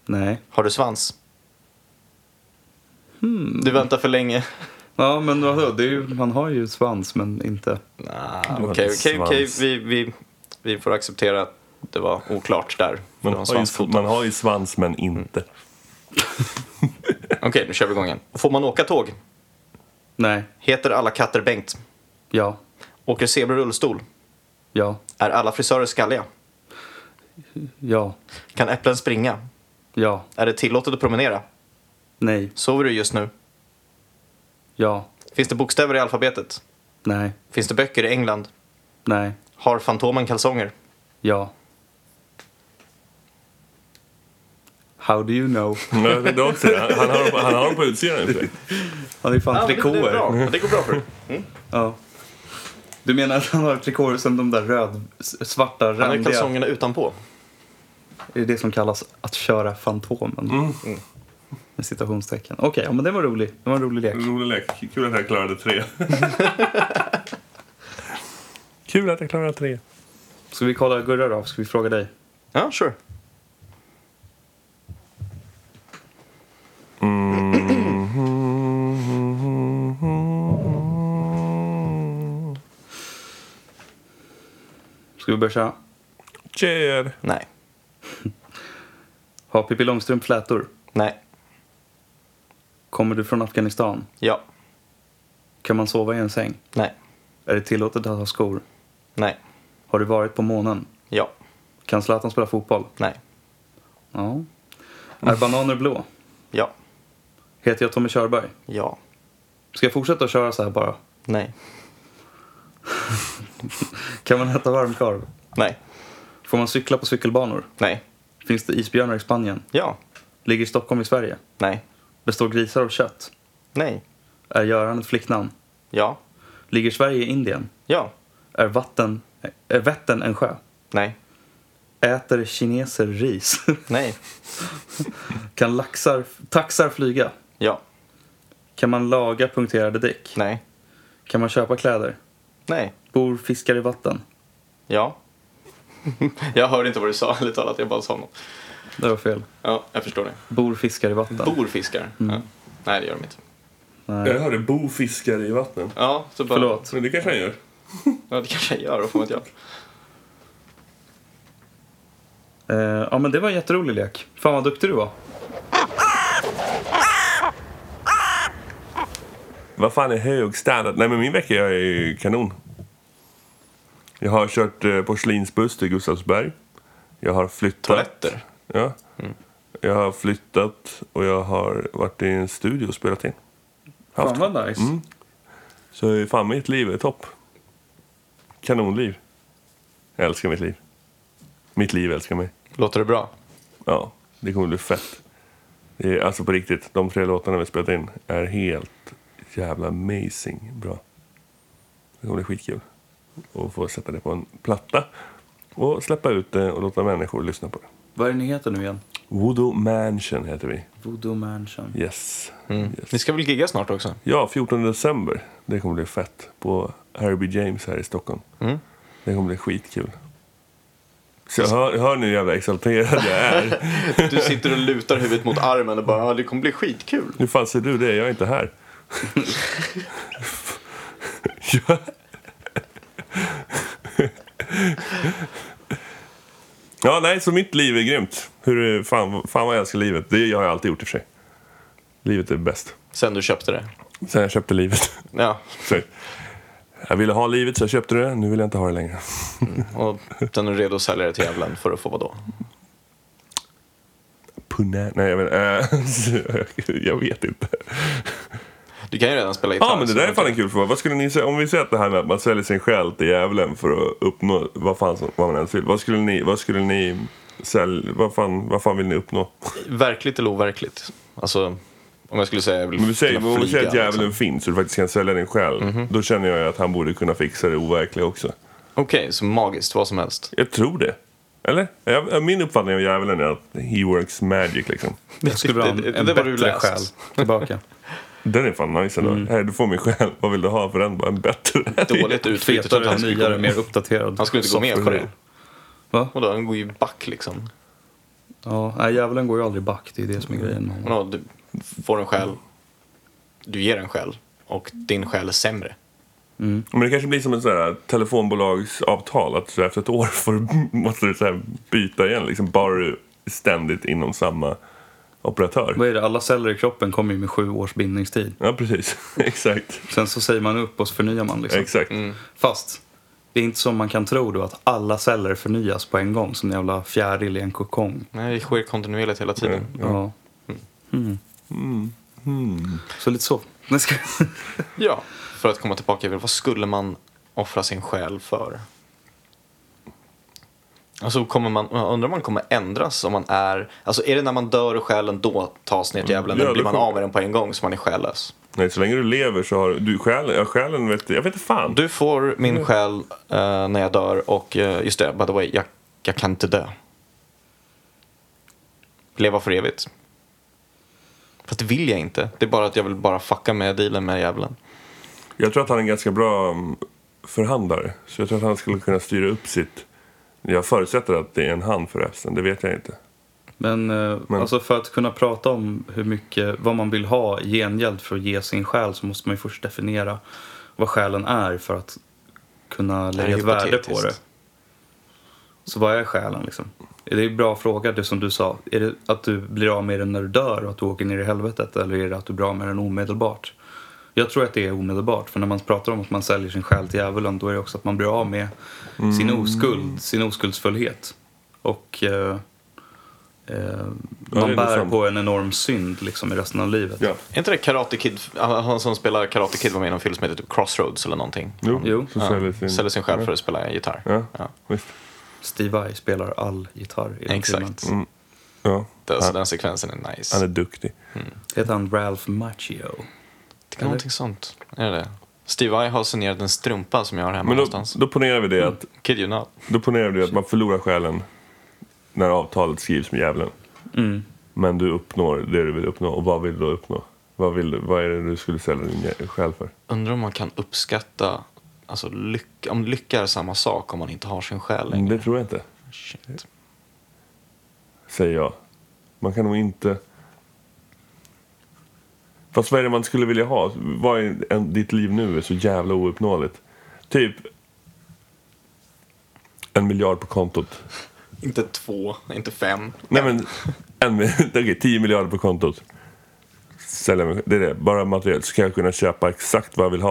nej. Har du svans? Du väntar för länge. Ja, men vadå, det är ju, man har ju svans men inte. Nah, har Okej, inte okej, okej. svans. Vi, vi, vi får acceptera att det var oklart där. Man Man har har, ju, man har ju svans men inte. Okej, nu kör vi igång igen. Får man åka tåg? Nej, Heter alla katter Bengt? ja, Åker zebror rullstol? ja, Är alla frisörer skalliga? ja, Kan äpplen springa? ja, Är det tillåtet att promenera? nej, Sover du just nu? ja, Finns det bokstäver i alfabetet? nej, Finns det böcker i England? nej, Har Fantomen kalsonger? ja. How do you know? Nej, det är också det. Han, han, har, dem på- han har dem på utsidan i och för sig. Han är ju fan det, är trikåer. Mm. bra. det går bra för dig. Ja. Du menar att han har trikåer som de där röd, s- svarta, Han har ju randiga? kalsongerna utanpå. Är det det som kallas att köra Fantomen? Mm. Med citationstecken. Okej, ja, men det var rolig. Det var en rolig lek. Mm. Rolig lek. Kul att jag klarade tre. Kul att jag klarade tre. Ska vi kolla Gurra då? Ska vi fråga dig? Ja, sure. Ska vi börja köra? Cheer! Nej. Har Pippi Långstrump flätor? Nej. Kommer du från Afghanistan? Ja. Kan man sova i en säng? Nej. Är det tillåtet att ha skor? Nej. Har du varit på månen? Ja. Kan Zlatan spela fotboll? Nej. Ja. Är bananer blå? Ja. Heter jag Tommy Körberg? Ja. Ska jag fortsätta att köra så här bara? Nej. Kan man äta varmkorv? Nej. Får man cykla på cykelbanor? Nej. Finns det isbjörnar i Spanien? Ja. Ligger Stockholm i Sverige? Nej. Består grisar av kött? Nej. Är Göran ett flicknamn? Ja. Ligger Sverige i Indien? Ja. Är, vatten, är Vättern en sjö? Nej. Äter kineser ris? Nej. kan laxar, taxar flyga? Ja. Kan man laga punkterade däck? Nej. Kan man köpa kläder? Nej. Bor fiskar i vatten? Ja. jag hörde inte vad du sa, ärligt talat. Jag bara sa något. Det var fel. Ja, jag förstår det. Bor fiskar i vatten? Bor fiskar? Ja. Nej, det gör de inte. Jag hörde bo fiskar i vattnen. Ja, så bara... Förlåt. Men det kanske han gör. Ja, det kanske jag gör. Vad fan vet jag? Eh, ja, men det var en jätterolig lek. Fan vad duktig du var. Vad fan är hög standard? Nej men min vecka är ju kanon. Jag har kört eh, porslinsbuss till Gustavsberg. Jag har flyttat. Toaletter? Ja. Jag har flyttat och jag har varit i en studio och spelat in. Fan vad nice. Så fan mitt liv är topp. Kanonliv. Jag älskar mitt liv. Mitt liv älskar mig. Låter det bra? Ja, det kommer bli fett. Det är, alltså på riktigt, de tre låtarna vi spelat in är helt jävla amazing bra. Det kommer bli skitkul att få sätta det på en platta och släppa ut det och låta människor lyssna på det. Vad är det ni heter nu igen? Voodoo Mansion heter vi. Voodoo Mansion. Yes. yes. Ni ska väl gigga snart också? Ja, 14 december. Det kommer bli fett. På Harry B. James här i Stockholm. Det kommer bli skitkul. Så jag hör, hör ni hur jävla exalterad jag är? Du sitter och lutar huvudet mot armen och bara ja, det kommer bli skitkul. Hur fan ser du det? Jag är inte här. jag... ja, nej, så mitt liv är grymt. Hur, fan, fan vad jag älskar livet. Det har jag alltid gjort i och för sig. Livet är bäst. Sen du köpte det? Sen jag köpte livet. Ja, Så, jag ville ha livet så jag köpte det, nu vill jag inte ha det längre. och sen är du redo att sälja det till djävulen för att få vadå? Punä... Nej, jag vet, äh, jag vet inte. Du kan ju redan spela gitarr. Ja, ah, men det så där är du fan kan- en kul fråga. Vad skulle ni säga, om vi säger att det här med att man säljer sin själ till djävulen för att uppnå vad fan som, vad man än vill. Vad skulle ni, vad skulle ni sälja, vad fan, vad fan vill ni uppnå? Verkligt eller overkligt? Alltså, om jag skulle säga jag vill Om vi säger, kunna om vi säger att flyga, djävulen liksom. Mhm. finns och du faktiskt kan sälja din själ. Då känner jag ju att han borde kunna fixa det overkliga också. Okej, så magiskt, vad som helst. Jag tror det. Eller? Jag, min uppfattning av djävulen är att he works magic liksom. Jag skulle vilja ha en, det- det- en det var du bättre läst. själ tillbaka. Den är fan nice ändå. Här, du får min själ. Vad vill du ha för den? Bara en bättre. Dåligt utbyte. så att Fetare, han skulle nyare, gå- mer uppdaterad. Han skulle inte gå med på det. Va? Och då, han går ju back liksom. Ja, nej, djävulen går ju aldrig back. Det är det som är grejen med honom. Och då, du får en själ, du ger en själ och din själ är sämre. Men det kanske blir som ett sånt här telefonbolagsavtal att så efter ett år får, du- måste du så här byta igen. Liksom, bara du ständigt inom samma operatör. Vad är det? Alla celler i kroppen kommer ju med sju års bindningstid. Ja, precis. Exakt. Sen så säger man upp och så förnyar man liksom. Exakt. Mm. Fast det är inte som man kan tro då att alla celler förnyas på en gång som en jävla fjäril i en kokong. Nej, det sker kontinuerligt hela tiden. Ja. Mm. Så lite så. Nej, ska- Ja, för att komma tillbaka till vad skulle man offra sin själ för? Alltså kommer man, jag undrar om man kommer ändras om man är, alltså är det när man dör och själen då tas ner till djävulen Ja, eller det blir man kommer- av med den på en gång så man är själlös? Nej, så länge du lever så har du själen. Ja, själen vet jag vet inte fan. Du får min själ eh, när jag dör och eh, just det, by the way, jag, jag kan inte dö. Leva för evigt. Fast det vill jag inte. Det är bara att jag vill bara fucka med dealen med djävulen. Jag tror att han är en ganska bra mm, förhandlare. Så jag tror att han skulle kunna styra upp sitt... Jag förutsätter att det är en han förresten. Det vet jag inte. Men, eh, Men- Alltså för att kunna prata om hur mycket, vad man vill ha i gengäld för att ge sin själ så måste man ju först definiera vad själen är för att kunna här är lägga ett värde på hypotetiskt. det. Så vad är själen liksom? Är det en bra fråga, det som du sa. Är det att du blir av med den när du dör och att du åker ner i helvetet eller är det att du blir av med den omedelbart? Jag tror att det är omedelbart, för när man pratar om att man säljer sin själ till djävulen då är det också att man blir av med sin Mm. oskuld, sin oskuldsfullhet. Och eh, eh, man det är bär sant. på en enorm synd liksom i resten av livet. Ja. Är inte det Karate Kid, han som spelar Karate Kid var med i någon film som heter typ Crossroads eller någonting? Mm. Jo. Jo. Så säljer sin... Säljer sin själ för att spela gitarr. Ja. Visst. Steve Vai spelar all gitarr i den filmen. Exakt. Ja. Det, alltså, den sekvensen är nice. Han är Det duktig. Heter han Ralph Macchio? är någonting sånt. Är det det? Steve Vai har signerat en strumpa som jag har hemma Men då, någonstans. Mm. då ponerar vi det att, Kid you not. då ponerar vi det att man förlorar själen när avtalet skrivs med djävulen. Mm. Men du uppnår det du vill uppnå. Och vad vill du då uppnå? Vad, vill, du- vad är det du skulle sälja din jä- själ för? Undrar om man kan uppskatta alltså, lyck, om lycka är samma sak om man inte har sin själ längre. Det tror jag inte. Shit. säger jag. Man kan nog inte... Fast vad är det man skulle vilja ha? Vad är en, ditt liv nu är så jävla ouppnåeligt? Typ en miljard på kontot. Inte två, inte fem. Nej men, en, okej, 10 miljarder på kontot. sälja mig. Det är det, bara materiellt. Så kan jag kunna köpa exakt vad jag vill ha.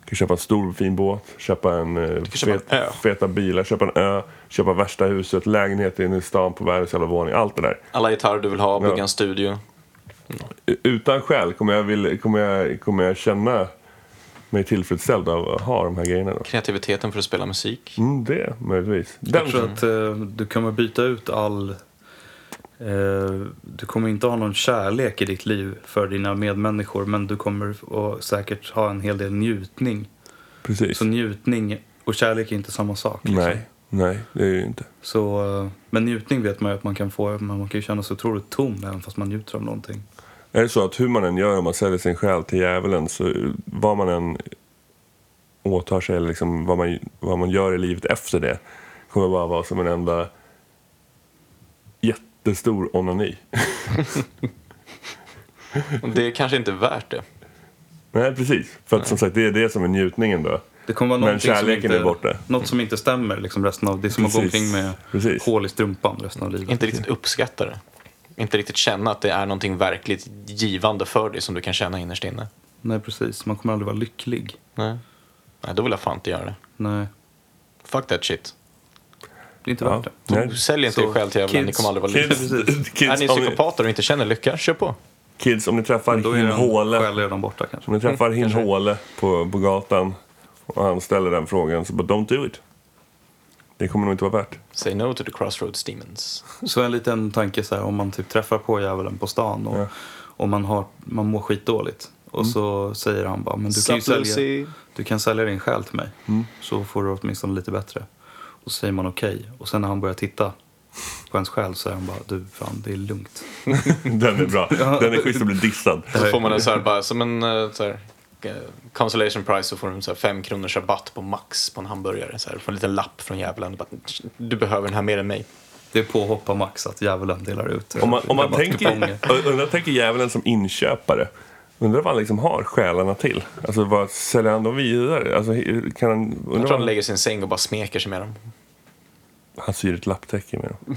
Jag kan köpa en stor fin båt, köpa en eh, köpa en ö. feta bilar, köpa en ö, köpa värsta huset, lägenhet inne i stan på världens jävla våning. Allt det där. Alla gitarrer du vill ha, bygga Ja. en studio. utan skäl kommer jag, vill, kommer jag, kommer jag känna mig tillfredsställd av att ha de här grejerna. Då. Kreativiteten för att spela musik. Mm, det möjligtvis. Den, Jag tror att eh, du kommer byta ut all... Eh, du kommer inte ha någon kärlek i ditt liv för dina medmänniskor men du kommer att säkert ha en hel del njutning. precis. Så njutning och kärlek är inte samma sak. liksom. nej, nej, det är ju inte. Så, eh, men njutning vet man ju att man kan få, men man kan ju känna sig otroligt tom även fast man njuter av någonting. Är det så att hur man än gör, om man säljer sin själ till djävulen, så vad man än åtar sig, eller liksom vad, man, vad man gör i livet efter det, kommer bara vara som en enda jättestor onani. Och Det är kanske inte värt det. nej, precis. För att som sagt, det är det som är njutningen då. Det kommer vara Men någonting kärleken som inte, är borta. Något som inte stämmer liksom resten av... Det är som att gå Precis. omkring med Precis. hål i strumpan resten av livet. Inte riktigt uppskatta det. Inte riktigt känna att det är någonting verkligt givande för dig som du kan känna innerst inne. Nej, precis. Man kommer aldrig vara lycklig. Nej. Nej, då vill jag fan inte göra det. Nej, Fuck that shit. det är inte Ja. värt det. Nej, Sälj inte Så, er själ till djävulen, ni kids- kommer aldrig vara lyckliga. Kids, Precis. kids, Är ni om ni- psykopater och inte känner lycka, kör på. Kids, om ni träffar Men då är Hin den själ Håle, redan borta kanske. om ni träffar Hin kanske. Håle på, på gatan och han ställer den frågan, så bara don't do it. Det kommer nog inte vara värt. Say no to the crossroads demons. Så en liten tanke så här, om man typ träffar på djävulen på stan och, Ja. Mm. och man, har, man mår skitdåligt. Och så säger han bara, men du kan, ju Sup, sälja, Lucy. du kan sälja din själ till mig. Mm. Så får du åtminstone lite bättre. Och så säger man okej. Och sen när han börjar titta på ens själ så är han bara, du fan det är lugnt. Den är bra. Den är schysst att bli dissad. Så får man en så här, bara, som en eh, så här, eh, consolation prize så får du en så här, fem kronors rabatt på Max på en hamburgare. Så här, får en liten lapp från djävulen. Bara, Du behöver den här mer än mig. Det är påhopp av Max att djävulen delar ut. Om man, om man rabattkuponger. tänker, undrar, tänker djävulen som inköpare. Undrar vad han liksom har själarna till. Alltså vad säljer han dem vidare? Alltså, kan han, undrar Jag vad tror han han, lägger sin säng och bara smeker sig med dem. han syr ett lapptäcke med dem.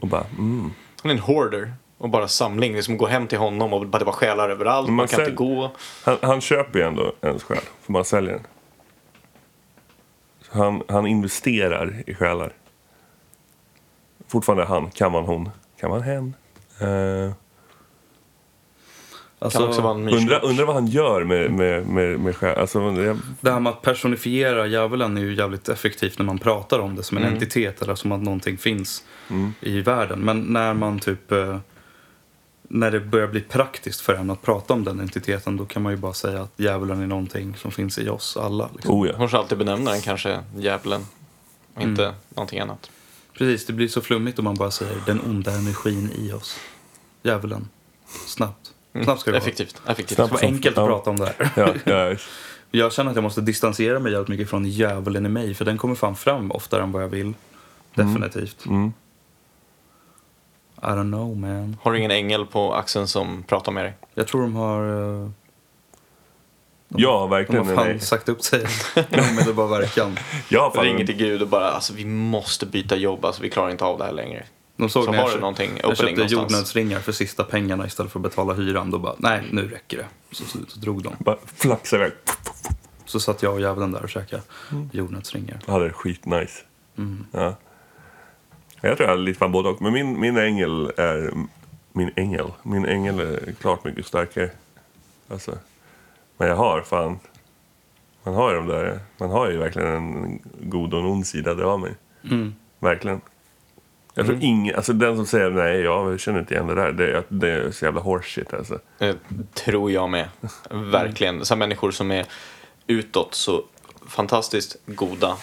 Och bara, mm. Han är en hoarder och bara samling. Liksom går hem till honom och bara, det var själar överallt. Man, man kan sälj- inte gå. Han, han köper ju ändå ens själ, för man säljer den. Så han, han investerar i själar. Fortfarande han, kan man hon, kan man hen. Eh, Alltså, Kan också vara en undra, myrslok. undra vad han gör med, med, med, med själ. Alltså, jag, Det här med att personifiera djävulen är ju jävligt effektivt när man pratar om det som en Mm. entitet eller som att någonting finns i världen. Men när man typ... eh, När det börjar bli praktiskt för en att prata om den entiteten då kan man ju bara säga att djävulen är någonting som finns i oss alla. Liksom. oh ja. Hon ska alltid benämna den kanske djävulen. och Inte Mm. någonting annat. Precis, det blir så flummigt om man bara säger den onda energin i oss. Djävulen. Snabbt. Snabbt ska det vara. Effektivt. Effektivt. Det Mm. Snabbt. var enkelt att Ja. prata om det här. Ja, ja. Jag känner att jag måste distansera mig jävligt mycket från djävulen i mig för den kommer fan fram oftare än vad jag vill. Definitivt. Mm. I don't know man. Har du ingen ängel på axeln som pratar med dig? Jag tror de har, eh, ja, de har verkligen. fan nej. sagt upp sig med det bara verkan. Ja, fan, Ringer till Gud och bara alltså vi måste byta jobb, alltså vi klarar inte av det här längre. De såg Så när har du jag, någonting jag opening köpte någonstans. jordnötsringar för sista pengarna istället för att betala hyran. Då bara, nej nu räcker det. Så, så, så drog de. bara flaxa iväg. Så satt jag och djävulen där och käkade Mm. jordnötsringar. Ja, det är skitnice. Mm. Ja. Jag tror jag är lite fan både och. Men min, min ängel är... Min ängel? Min ängel är klart mycket starkare. Alltså. Men jag har fan... Man har ju de där... Man har ju verkligen en god och en ond sida, det har man ju. Mm. Verkligen. Jag tror ingen... Alltså den som säger nej, jag känner inte igen det där. Det, är- det är så jävla horseshit alltså. Eh, tror jag med. Verkligen. Så här människor som är utåt så fantastiskt goda.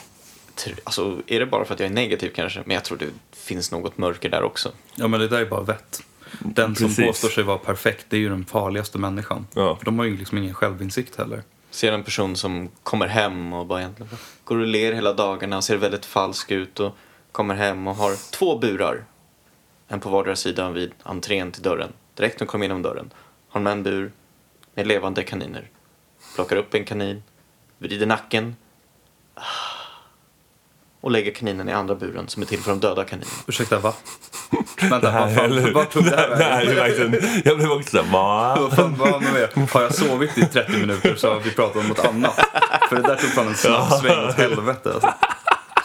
Tr- Alltså är det bara för att jag är negativ kanske? Men jag tror det finns något mörker där också. Ja men det där är bara vett. Den som Precis. påstår sig vara perfekt, det är ju den farligaste människan. Ja. För de har ju liksom ingen självinsikt heller. Ser en person som kommer hem och bara egentligen bara går och ler hela dagarna, ser väldigt falsk ut och kommer hem och har två burar. En på vardera sidan vid entrén till dörren. Direkt när de kommer in genom dörren har de en bur med levande kaniner. Plockar upp en kanin, vrider nacken Ah. och lägger kaninen i andra buren som är till för de döda kaninerna. Ursäkta va? Vänta, vad fan, vart tog det här det här är vägen? ju verkligen... Jag blev också såhär, va? Vad fan var man med? Har jag sovit i 30 minuter så har vi pratat om något annat. För det där tog fan en snabb sväng åt helvete alltså.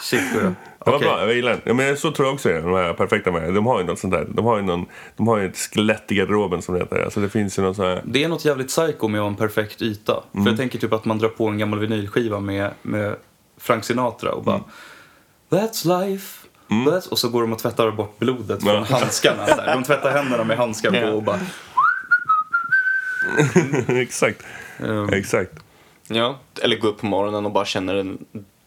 Shit, går det. Det var Okej. bra, jag gillar den. Ja, men så tror jag också är de här perfekta med. De har ju något sånt där. De har ju, någon, de har ju ett skelett i garderoben som det heter. Alltså det finns ju någon sån här... Det är något jävligt psycho med att ha en perfekt yta. Mm. För jag tänker typ att man drar på en gammal vinylskiva med, med Frank Sinatra och bara Mm. That's life. That's... Och så går de och tvättar bort blodet från Ja. handskarna. Så här. De tvättar händerna med handskar på Ja. och bara... Exakt. ehm, Exakt. Ja, eller gå upp på morgonen och bara känner en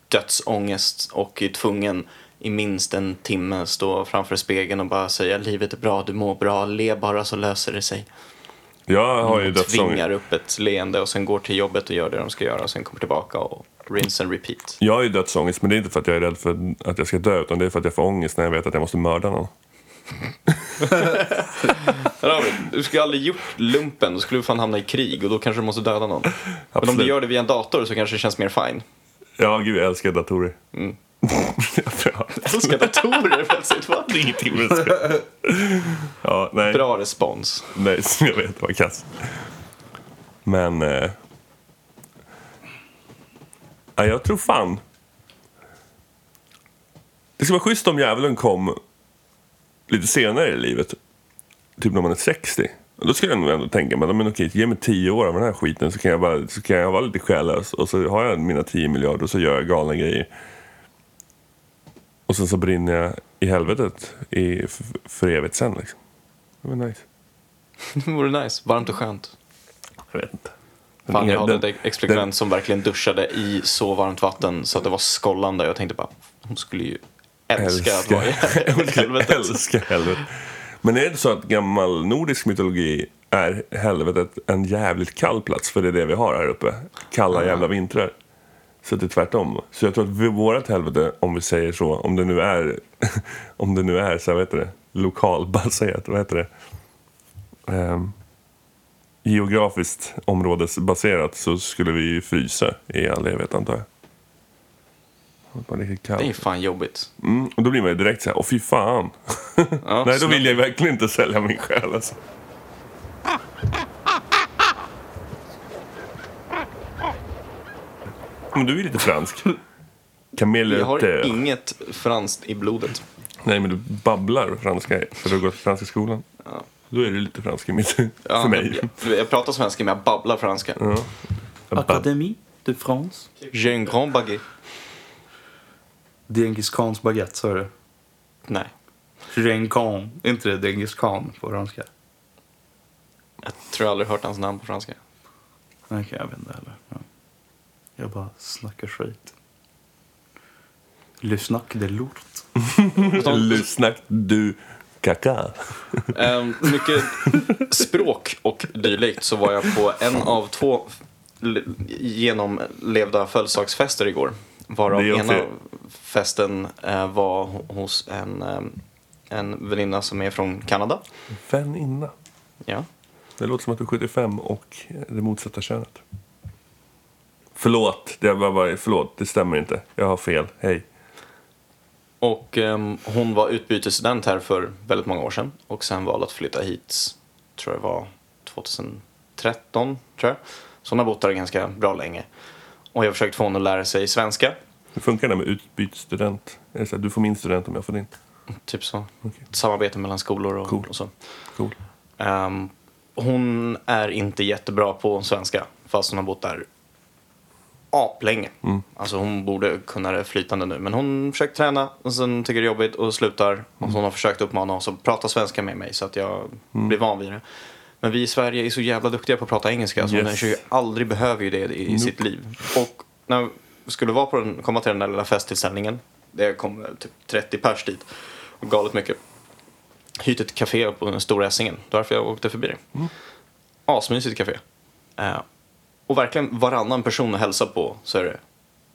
dödsångest och är tvungen i minst en timme stå framför spegeln och bara säga livet är bra, du mår bra, le bara så löser det sig. Jag har ju dödsångest. Tvingar upp ett leende och sen går till jobbet och gör det de ska göra och sen kommer tillbaka och rinse and repeat. Jag har ju dödsångest, men det är inte för att jag är rädd för att jag ska dö utan det är för att jag får ångest när jag vet att jag måste mörda någon. Där har vi det. Du skulle aldrig gjort lumpen, då skulle du fan hamna i krig och då kanske du måste döda någon. Men om Absolut. du gör det via en dator så kanske det känns mer fine. Ja, gud, jag älskar datorer. Mm. Ja, Fuska datorer plötsligt, va? det är ingenting med det. Ja, nej. Bra respons. Nej, som jag vet var kass. Men... Eh, ja, jag tror fan... Det skulle vara schysst om djävulen kom lite senare i livet. Typ när man är 60. Då skulle jag nog ändå tänka mig, men okej, ge mig 10 år av den här skiten så kan jag, bara, så kan jag vara lite själlös och så har jag mina 10 miljarder och så gör jag galna grejer. Och sen så brinner jag i helvetet i, för, för evigt sen liksom. Det var nice. Det vore nice. Varmt och skönt. Jag vet inte. Fan, jag Den- hade den- en ex-flickvän som verkligen duschade i så varmt vatten så att det var skållande. Jag tänkte bara, hon skulle ju älska, att vara i Hon skulle helvetet. älska helvetet. Men är det inte så att gammal nordisk mytologi är helvetet en jävligt kall plats? För det är det vi har här uppe. Kalla jävla vintrar. Så det är tvärtom. Så jag tror att vi- vårat helvete, om vi säger så, om det nu är, om det nu är så här, vad heter det, lokalbaserat, vad heter det? Ehm, geografiskt områdesbaserat så skulle vi ju frysa i all evighet antar jag. Det var riktigt kallt. Det är fan jobbigt. Mm, och då blir man ju direkt så här, åh fy fan. Ja, Nej, då snabbt. vill jag verkligen inte sälja min själ alltså. Men du är ju lite fransk. Camille Jag har Thé. inget franskt i blodet. Nej, men du babblar franska för du har gått franska skolan. Då är du lite fransk i mitt, Ja, för mig. Jag, jag pratar svenska men jag babblar franska. Académie de France. J'ai un grand baguette. Djengis Khans baguette, sa du Nej, det? Khan. Är inte det Djengis Khan på franska? jag tror jag aldrig hört hans namn på franska. Nej, okej, jag vet inte heller. Ja. Jag bara snackar skit. Le snack de lourd. Lyssna du kaka. Ehm, mycket språk och dylikt så var jag på en av två l- genomlevda födelsedagsfester igår. Varav Det är också- ena festen eh, var ho- hos en, ehm, en väninna som är från Kanada. Väninna. Ja. Det låter som att du är 75 och det motsatta könet. Förlåt, det, var bara, förlåt, det stämmer inte. Jag har fel. Hej. Och ehm, hon var utbytesstudent här för väldigt många år sedan och sen valde att flytta hit, tror jag det var 2013, tror jag. Så hon har bott där ganska bra länge. Och jag försökte få henne att lära sig svenska, Hur funkar det med utbytesstudent? Är det så här, du får min student om jag får din? typ så. Okej. Samarbete mellan skolor och, Cool. och så. Cool. Ehm, hon är inte jättebra på svenska fast hon har bott där aplänge. Alltså hon borde kunna det flytande nu. Men hon försöker träna och sen tycker det är jobbigt och slutar. Och så hon har försökt uppmana oss att prata svenska med mig så att jag blir van vid det. Men vi i Sverige är så jävla duktiga på att prata engelska så Yes. hon är ju aldrig behöver ju det i sitt liv. Och när jag skulle vara på den, komma till den där lilla festtillställningen. Det kom eh, typ 30 pers dit. Och galet mycket hyrt ett café på den stora Essingen. Därför jag åkte förbi det. Asmysigt café. Eh, och verkligen varannan person jag hälsar på så är det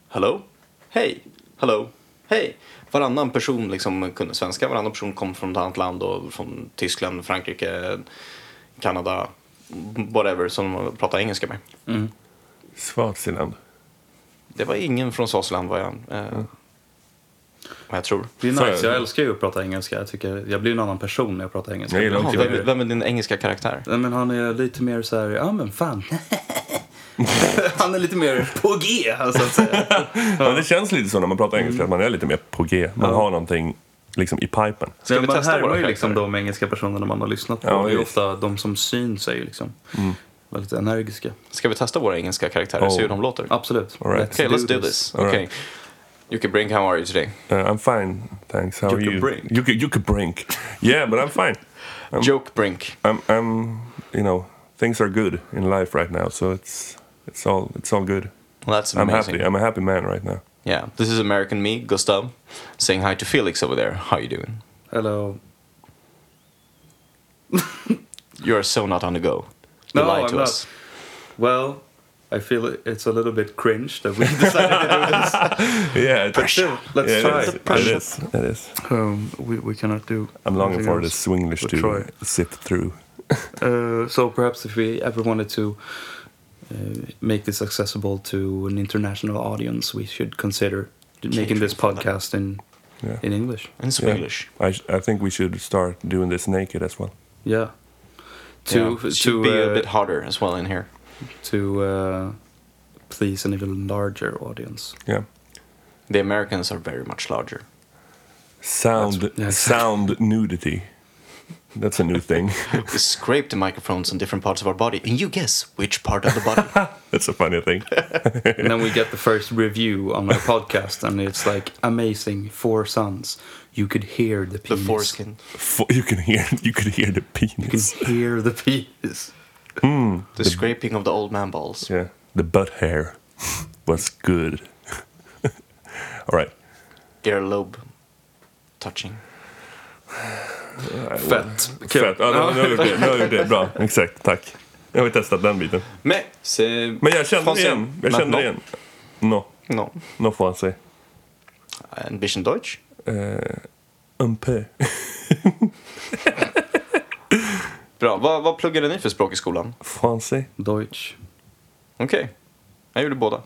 Hello? Hej? Hello? Hej? Varannan person liksom kunde svenska, varannan person kom från ett annat land och från Tyskland, Frankrike, Kanada, whatever som de pratade engelska med. Swaziland. Det var ingen från Swaziland var jag eh, vad jag tror. Det är Så är nice. det. Jag älskar ju att prata engelska. Jag, tycker, jag blir en annan person när jag pratar engelska. Jag gillar Det också betyder- Vem, vem är din engelska karaktär? Nej, men han är lite mer så här, ja men fan. han är lite mer på G, så att säga. Men det känns lite så när man pratar engelska, att man är lite mer på G. Man har någonting liksom i pipen. Ska Men vi man testa härmar våra ju liksom karaktärer? de engelska personerna man har lyssnat på. Ja, Mm. det är visst. ofta de som syns är ju liksom väldigt energiska. Ska vi testa våra engelska karaktärer och se hur de låter? Absolut. All right. Okay, let's do this. All Okay. Yuki Brink, how are you today? Uh, I'm fine, thanks. How are Yucca you? Brink. Yucca, Yucca Brink. Yeah, but I'm fine. Joke Brink. I'm, I'm, you know, things are good in life right now, so it's, it's all, it's all good. Well, that's I'm amazing. happy. I'm a happy man right now. Yeah, this is American me, Gustav, saying hi to Felix over there. How you doing? Hello. You are so not on the go. You No, lied to I'm us. Well, I feel it's a little bit cringe that we decided to do this. Yeah, it- Sure, let's yeah, try. It is. it. it is. It is. Um, we, we cannot do. I'm longing anything for the else. Swinglish Let's to try. sip through. Uh, so perhaps if we ever wanted to uh, make this accessible to an international audience, we should consider making this podcast in Yeah. in English. In Yeah. Swedish. I, sh- I think we should start doing this naked as well. Yeah. Yeah. To It should to be uh, a bit harder as well in here. to uh, please an even larger audience. Yeah. The Americans are very much larger. Sound yes. sound nudity. That's a new thing. We scrape the microphones on different parts of our body, and you guess which part of the body. That's a funny thing. and then we get the first review on our podcast, and it's like amazing. Four sons, you could hear the the penis. foreskin. Fo- You can hear you could hear the You can penis. hear the penis. The scraping of the old man balls. Yeah. The butt hair was good. All right. Earlobe touching. Fett. Kul. Fett. Ja, nu har vi gjort det. Nu har vi gjort det. Bra. Exakt. Tack. Nu har vi testat den biten. Mais c'est. Men jag kände det Français. igen. Jag kände det igen. No. Non. No får han säga. Ambition Deutsch? Un peu. Bra. Vad, vad pluggade ni för språk i skolan? Français. Deutsch. Okej. Jag gjorde båda.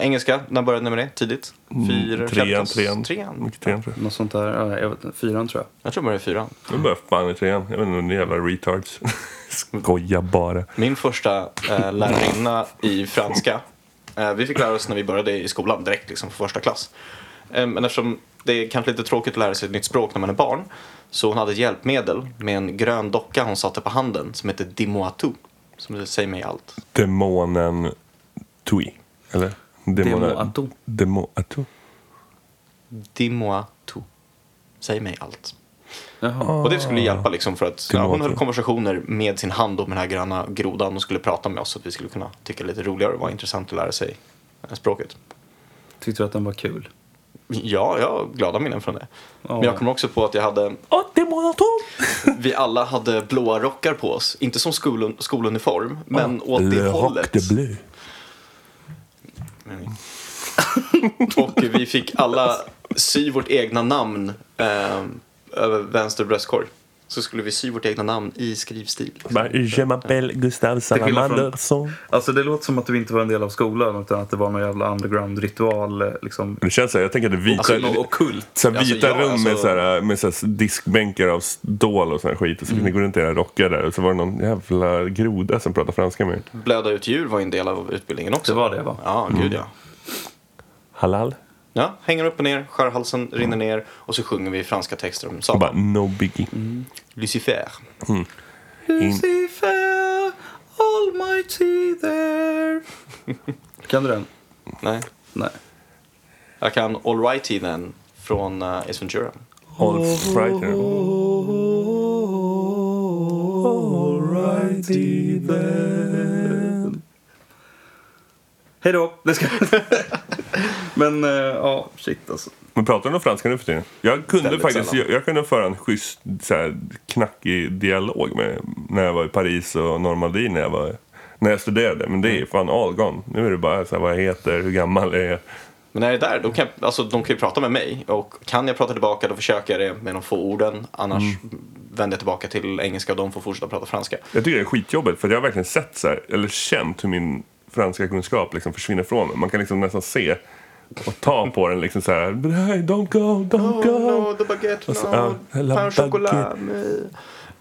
Engelska, när började ni med det? Tidigt? Fyra, Mm, Trean, femtons- trean. trean. Mycket trean tror jag. Något sånt där. Ja, jag vet, inte. fyran tror jag. Jag tror jag började i fyran. Jag började fan i trean. Jag vet inte, ni jävla retards. Skoja bara. Min första eh, lärarinna i franska. Eh, vi fick lära oss när vi började i skolan direkt, liksom för första klass. Eh, men eftersom det är kanske lite tråkigt att lära sig ett nytt språk när man är barn. Så hon hade ett hjälpmedel med en grön docka hon satte på handen som heter Dimoatu. Som det säger mig allt. Demonen Tui. Eller? Demoato. Demoato. Dimoatu. Säg mig allt. Jaha. Och det skulle hjälpa liksom för att ja, hon Dimoatu. höll konversationer med sin hand om den här gröna grodan och skulle prata med oss så att vi skulle kunna tycka lite roligare och vara intressant att lära sig eh, språket. Tyckte du att den var kul? Ja, jag har glada minnen från det. Ja. Men jag kommer också på att jag hade, Oh, demonato! vi alla hade blåa rockar på oss. Inte som skolun, skoluniform, men åt det Le Roc hållet. de Bleu. Mm. Och vi fick alla sy vårt egna namn eh, över vänster bröstkorg. Så skulle vi sy vårt egna namn i skrivstil. Bah, Alltså, Je m'appelle Gustav skillnad från- Salamanderson. Alltså det låter som att du inte var en del av skolan utan att det var någon jävla underground-ritual eh, liksom. Det känns så här, jag tänker att det vita, Alltså, Något ockult. så här, Alltså, vita jag- rum med, alltså- så här, med så här, diskbänkar av stål och sån här skit. Och så Mm. fick ni gå runt i era rockar där och så var det någon jävla groda som pratade franska med er. Blöda ut djur var ju en del av utbildningen också. Det var det va? Mm. Ja, gud ja. Halal. Ja, hänger upp och ner, skär halsen, rinner ner och så sjunger vi franska texter om Och Satan. bara no biggie. Lucifer. Lucifer, almighty there. Kan du den? Nej. Nej. Jag kan All Righty Then från uh, Ace Ventura. All right. Hej då! Det ska... Men eh, ja, shit alltså. Men pratar du någon franska nu för tiden? Jag kunde Väldigt faktiskt sällan. jag, jag kunde föra en schysst så här, knackig dialog med när jag var i Paris och Normandie när jag, var, när jag studerade. Men det är ju fan all gone. Nu är det bara så här, vad jag heter, hur gammal är jag? Men när jag är där, då kan jag, alltså, de kan ju prata med mig. Och kan jag prata tillbaka, då försöker jag det med de få orden. Annars Mm. vänder jag tillbaka till engelska och de får fortsätta prata franska. Jag tycker det är skitjobbigt för jag har verkligen sett så här, eller känt hur min franska kunskap liksom försvinner från mig. Man kan liksom nästan se och ta på den liksom så här. "Men hey, Don't go, Oh, don't go. the baguette, Och så- Alltså, ja, la Pain au chocolat, baguette. nej.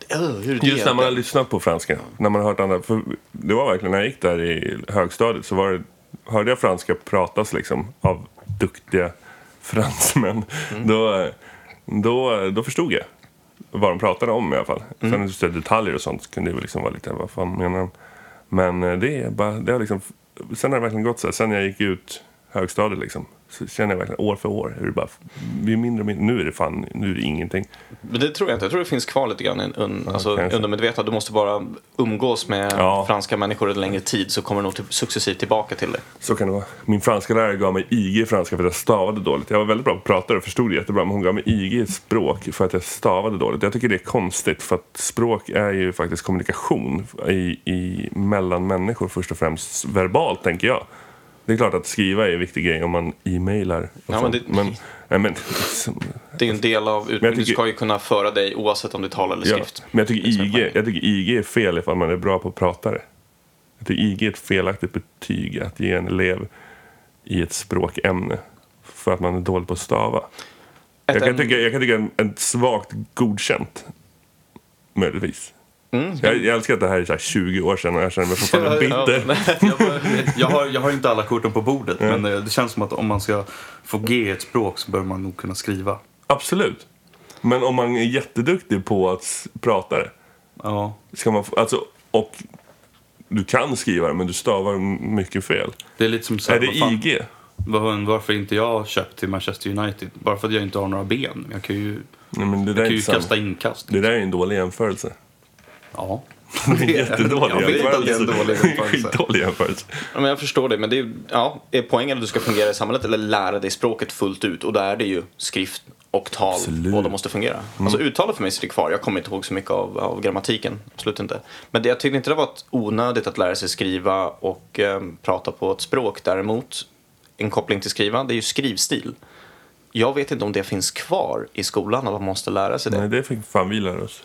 Öh, hur det Just när man har är. lyssnat på franska. När man har hört andra. För det var verkligen när jag gick där i högstadiet så var det, hörde jag franska pratas liksom av duktiga fransmän. Då, då, då förstod jag vad de pratade om i alla fall. Sen just det, detaljer och sånt kunde ju liksom vara lite, vad fan menar de? Men eh, det är bara, det har liksom, sen har det verkligen gått så här. Sen jag gick ut högstadiet liksom. Så känner jag verkligen år för år hur det bara, vi är mindre och mindre, nu är det fan, nu är det ingenting. Men det tror jag inte. Jag tror det finns kvar lite grann i un, alltså, kanske. undermedvetna. Du måste bara umgås med Ja. franska människor en längre tid så kommer du nog till, successivt tillbaka till det. Så kan det vara. Min franska lärare gav mig IG i franska för att jag stavade dåligt. Jag var väldigt bra på att prata och förstod det jättebra. Men hon gav mig IG i språk för att jag stavade dåligt. Jag tycker det är konstigt för att språk är ju faktiskt kommunikation i, i mellan människor först och främst verbalt tänker jag. Det är klart att skriva är en viktig grej om man e-mailar. och men sånt. det- men, nej, men, Det är en del av utbildningen. Du tycker- ska ju kunna föra dig oavsett om du talar eller ja. skrift. men jag, tycker Det är så IG, här. jag tycker IG är fel ifall man är bra på att prata det. Jag tycker IG är ett felaktigt betyg att ge en elev i ett språkämne för att man är dålig på att stava. Ett Jag kan ämne- tycka, jag kan tycka en, en svagt godkänt. Möjligtvis. Mm. Jag, jag älskar att det här är så här 20 år sedan och jag känner mig fortfarande bitter. jag, bara- jag, har, jag har inte alla korten på bordet, men eh, det känns som att om man ska få G i ett språk så bör man nog kunna skriva. Absolut. Men om man är jätteduktig på att s- prata det. Ja, Ska man, få- alltså, och du kan skriva det men du stavar m- mycket fel. det är lite som så här, Är det vad fan- IG? vad- Varför inte jag köpt till Manchester United? Bara för att jag inte har några ben. Jag kan ju, Nej, men det där är jag kan ju inte sant. kasta inkast. Det där är en dålig jämförelse. Ja. Det är en jättedålig Jag vet att det är en dålig jämförelse. jämförelse. Skitdålig jämförelse. Ja, men jag förstår det, men det är, ja, är poängen att du ska fungera i samhället eller lära dig språket fullt ut? Och där är det ju skrift och tal, Absolut. Mm. båda måste fungera. Alltså uttalet för mig sitter kvar, jag kommer inte ihåg så mycket av, av grammatiken, absolut inte. Men det, jag tyckte inte det var ett onödigt att lära sig skriva och eh, prata på ett språk. Däremot, en koppling till skriva, det är ju skrivstil. Jag vet inte om det finns kvar i skolan och man måste lära sig det. Nej, det fick fan vi lära oss.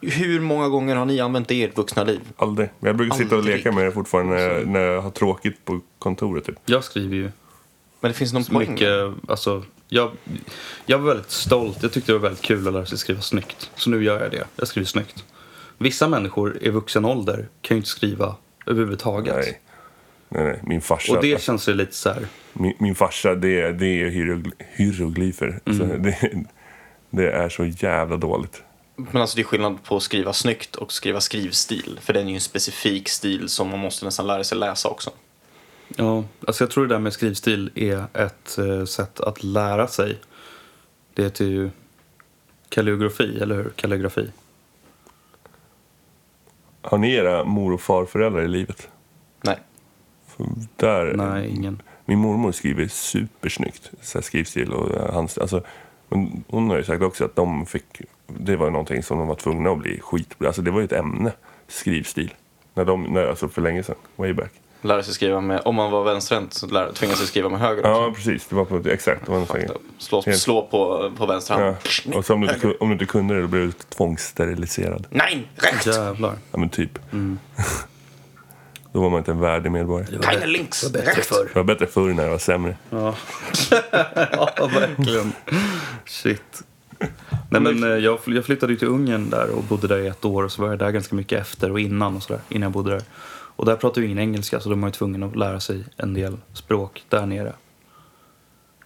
Hur många gånger har ni använt det i ert vuxna liv? Aldrig. Men jag brukar sitta och Aldrig. leka med det fortfarande när jag, när jag har tråkigt på kontoret. Typ. Jag skriver ju Men det finns någon poäng. mycket, alltså, jag, jag var väldigt stolt. Jag tyckte det var väldigt kul att lära sig skriva snyggt. Så nu gör jag det. Jag skriver snyggt. Vissa människor i vuxen ålder kan ju inte skriva överhuvudtaget. Nej. Nej, nej. Min farsa, Och det känns ju lite så här... min, min farsa det, det är hierogly- hieroglyfer. Mm. Alltså, det, det är så jävla dåligt. Men alltså det är skillnad på att skriva snyggt och skriva skrivstil. För den är ju en specifik stil som man måste nästan lära sig läsa också. Ja, alltså jag tror det där med skrivstil är ett eh, sätt att lära sig. Det heter ju kalligrafi, eller hur? Kalligrafi. Har ni era mor och farföräldrar i livet? Nej. För där, Nej, ingen. Min mormor skriver supersnyggt. Så här skrivstil och eh, handstil. Alltså, men hon har ju sagt också att de fick... Det var ju någonting som de var tvungna att bli skit Alltså det var ju ett ämne, skrivstil. När de, när, alltså för länge sedan, way back. Lära sig skriva med, om man var vänsterhänt så lär, tvingades sig skriva med höger också. Ja, precis. Det var på, exakt. Det var någonting. Slå, Helt- slå på, på vänster hand. Ja. Och så om, du inte, ku- om du inte kunde det, då blev du tvångssteriliserad. Nej! Rätt! Jävlar. Ja, men typ. Då var man inte en värdig medborgare. Keine links! Rätt! Det var bättre förr när jag var sämre. Ja, ja verkligen. Shit. Nej, men, eh, jag, fly- jag flyttade ju till Ungern där och bodde där i ett år och så var jag där ganska mycket efter och innan och sådär, innan jag bodde där. Och där pratade ju ingen engelska så de var ju tvungna att lära sig en del språk där nere.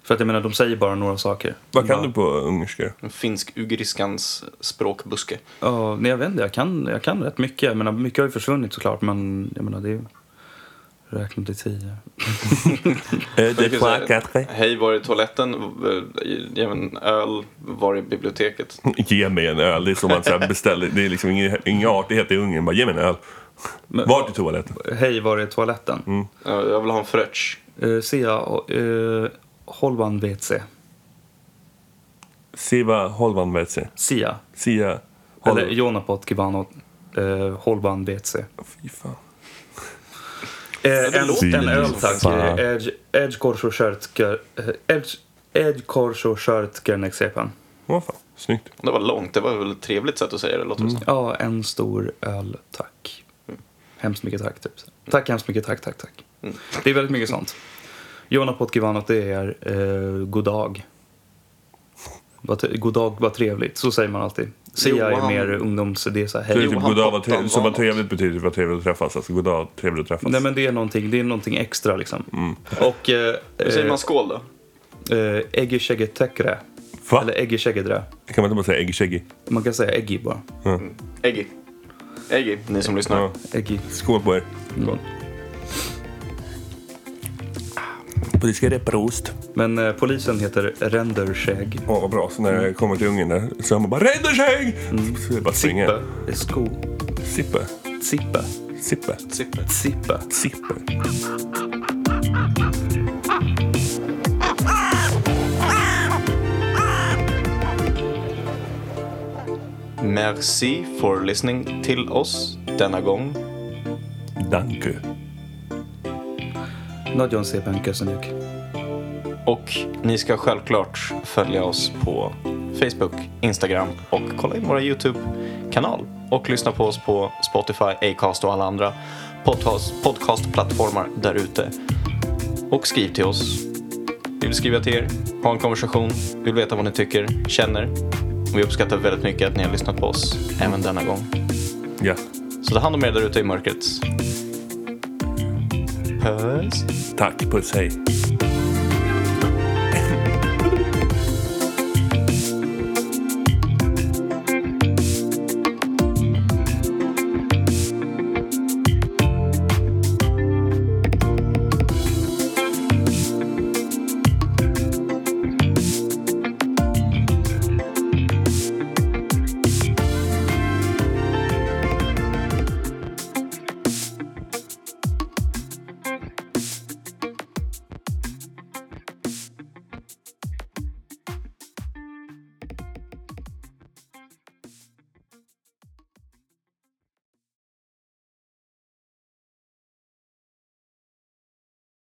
För att jag menar, de säger bara några saker. Vad kan Bara- du på ungerska? En Finsk-ugriskans språkbuske. Ja, nej jag vet inte. Jag kan, jag kan rätt mycket. Jag menar, mycket har ju försvunnit såklart, men jag menar, det är ju... Räkna till tio. Ö, Jag de skulle trois, säga, quatre. Hej, var är toaletten? Eh, Ge mig en öl. Var är biblioteket? Ge mig en öl. Det är som man så här beställer. Det är liksom ingen, ingen artighet i Ungern. Bara ge mig en öl. Men- Vart är toaletten? Hej, var är toaletten? Mm. Eh, Jag vill ha en frötch. Eh, Sia, uh, Holvan WC. Siva Holvanvetse. Sia. Sia Eller Holvan... Jonapot Kibano uh, Holvan WC. Fy fan. Eh, en, låter en öl som tack. fan. Eh, Edge- Edge Corso Shirtker... Edge, edge Corso Shirtker Nexepan. Vad fan. Snyggt. Det var långt. Det var väl ett trevligt sätt att säga det, låter det som. Mm. Ja, en stor öl, Mm. tack. Hemskt mycket tack, typ. Tack, hemskt mycket tack, tack, tack. Det är väldigt mycket sånt. Jonna Potkivanot det är eh, god dag. Vad te- God dag, vad trevligt. Så säger man alltid. Sia är Johan. mer ungdoms... Det är så här, Så det hej. är typ Johan goddag, vad Pottan trevligt, som vad Vanot. trevligt betyder vad trevligt att träffas. Alltså goddag, trevligt att träffas. Nej men det är någonting, det är någonting extra liksom. Och... Eh, Då Mm. säger eh, man skål då? eh, Eggy Sheggy Tekre. Va? Eller Eggy Sheggy Drä. Kan man inte bara säga ägg tjeggi? Man kan säga Eggy bara. Eggy. Eggy, ni som lyssnar. Ja. Eggy. Skål på er. Mm. Politiska reprost. Men eh, polisen heter Rendersheg. Åh vad bra, så när jag kommer till Ungern där så hör man bara räddar sig! Så jag bara springer. Sippe. Sko... Sippe. Mm. Sippe. Sippe. Sippe. Sippe. Sippe. Merci for listening till oss denna gång. Danke. Nadjon Sepen Kösenjuk. Och ni ska självklart följa oss på Facebook, Instagram och kolla in vår YouTube-kanal. Och lyssna på oss på Spotify, Acast och alla andra podcast- podcastplattformar där ute. Och skriv till oss. Vi vill skriva till er, ha en konversation, vi vill veta vad ni tycker, känner. Och vi uppskattar väldigt mycket att ni har lyssnat på oss även denna gång. Ja. Så ta hand om er där ute i mörkret. Puss. Tack, puss, hej.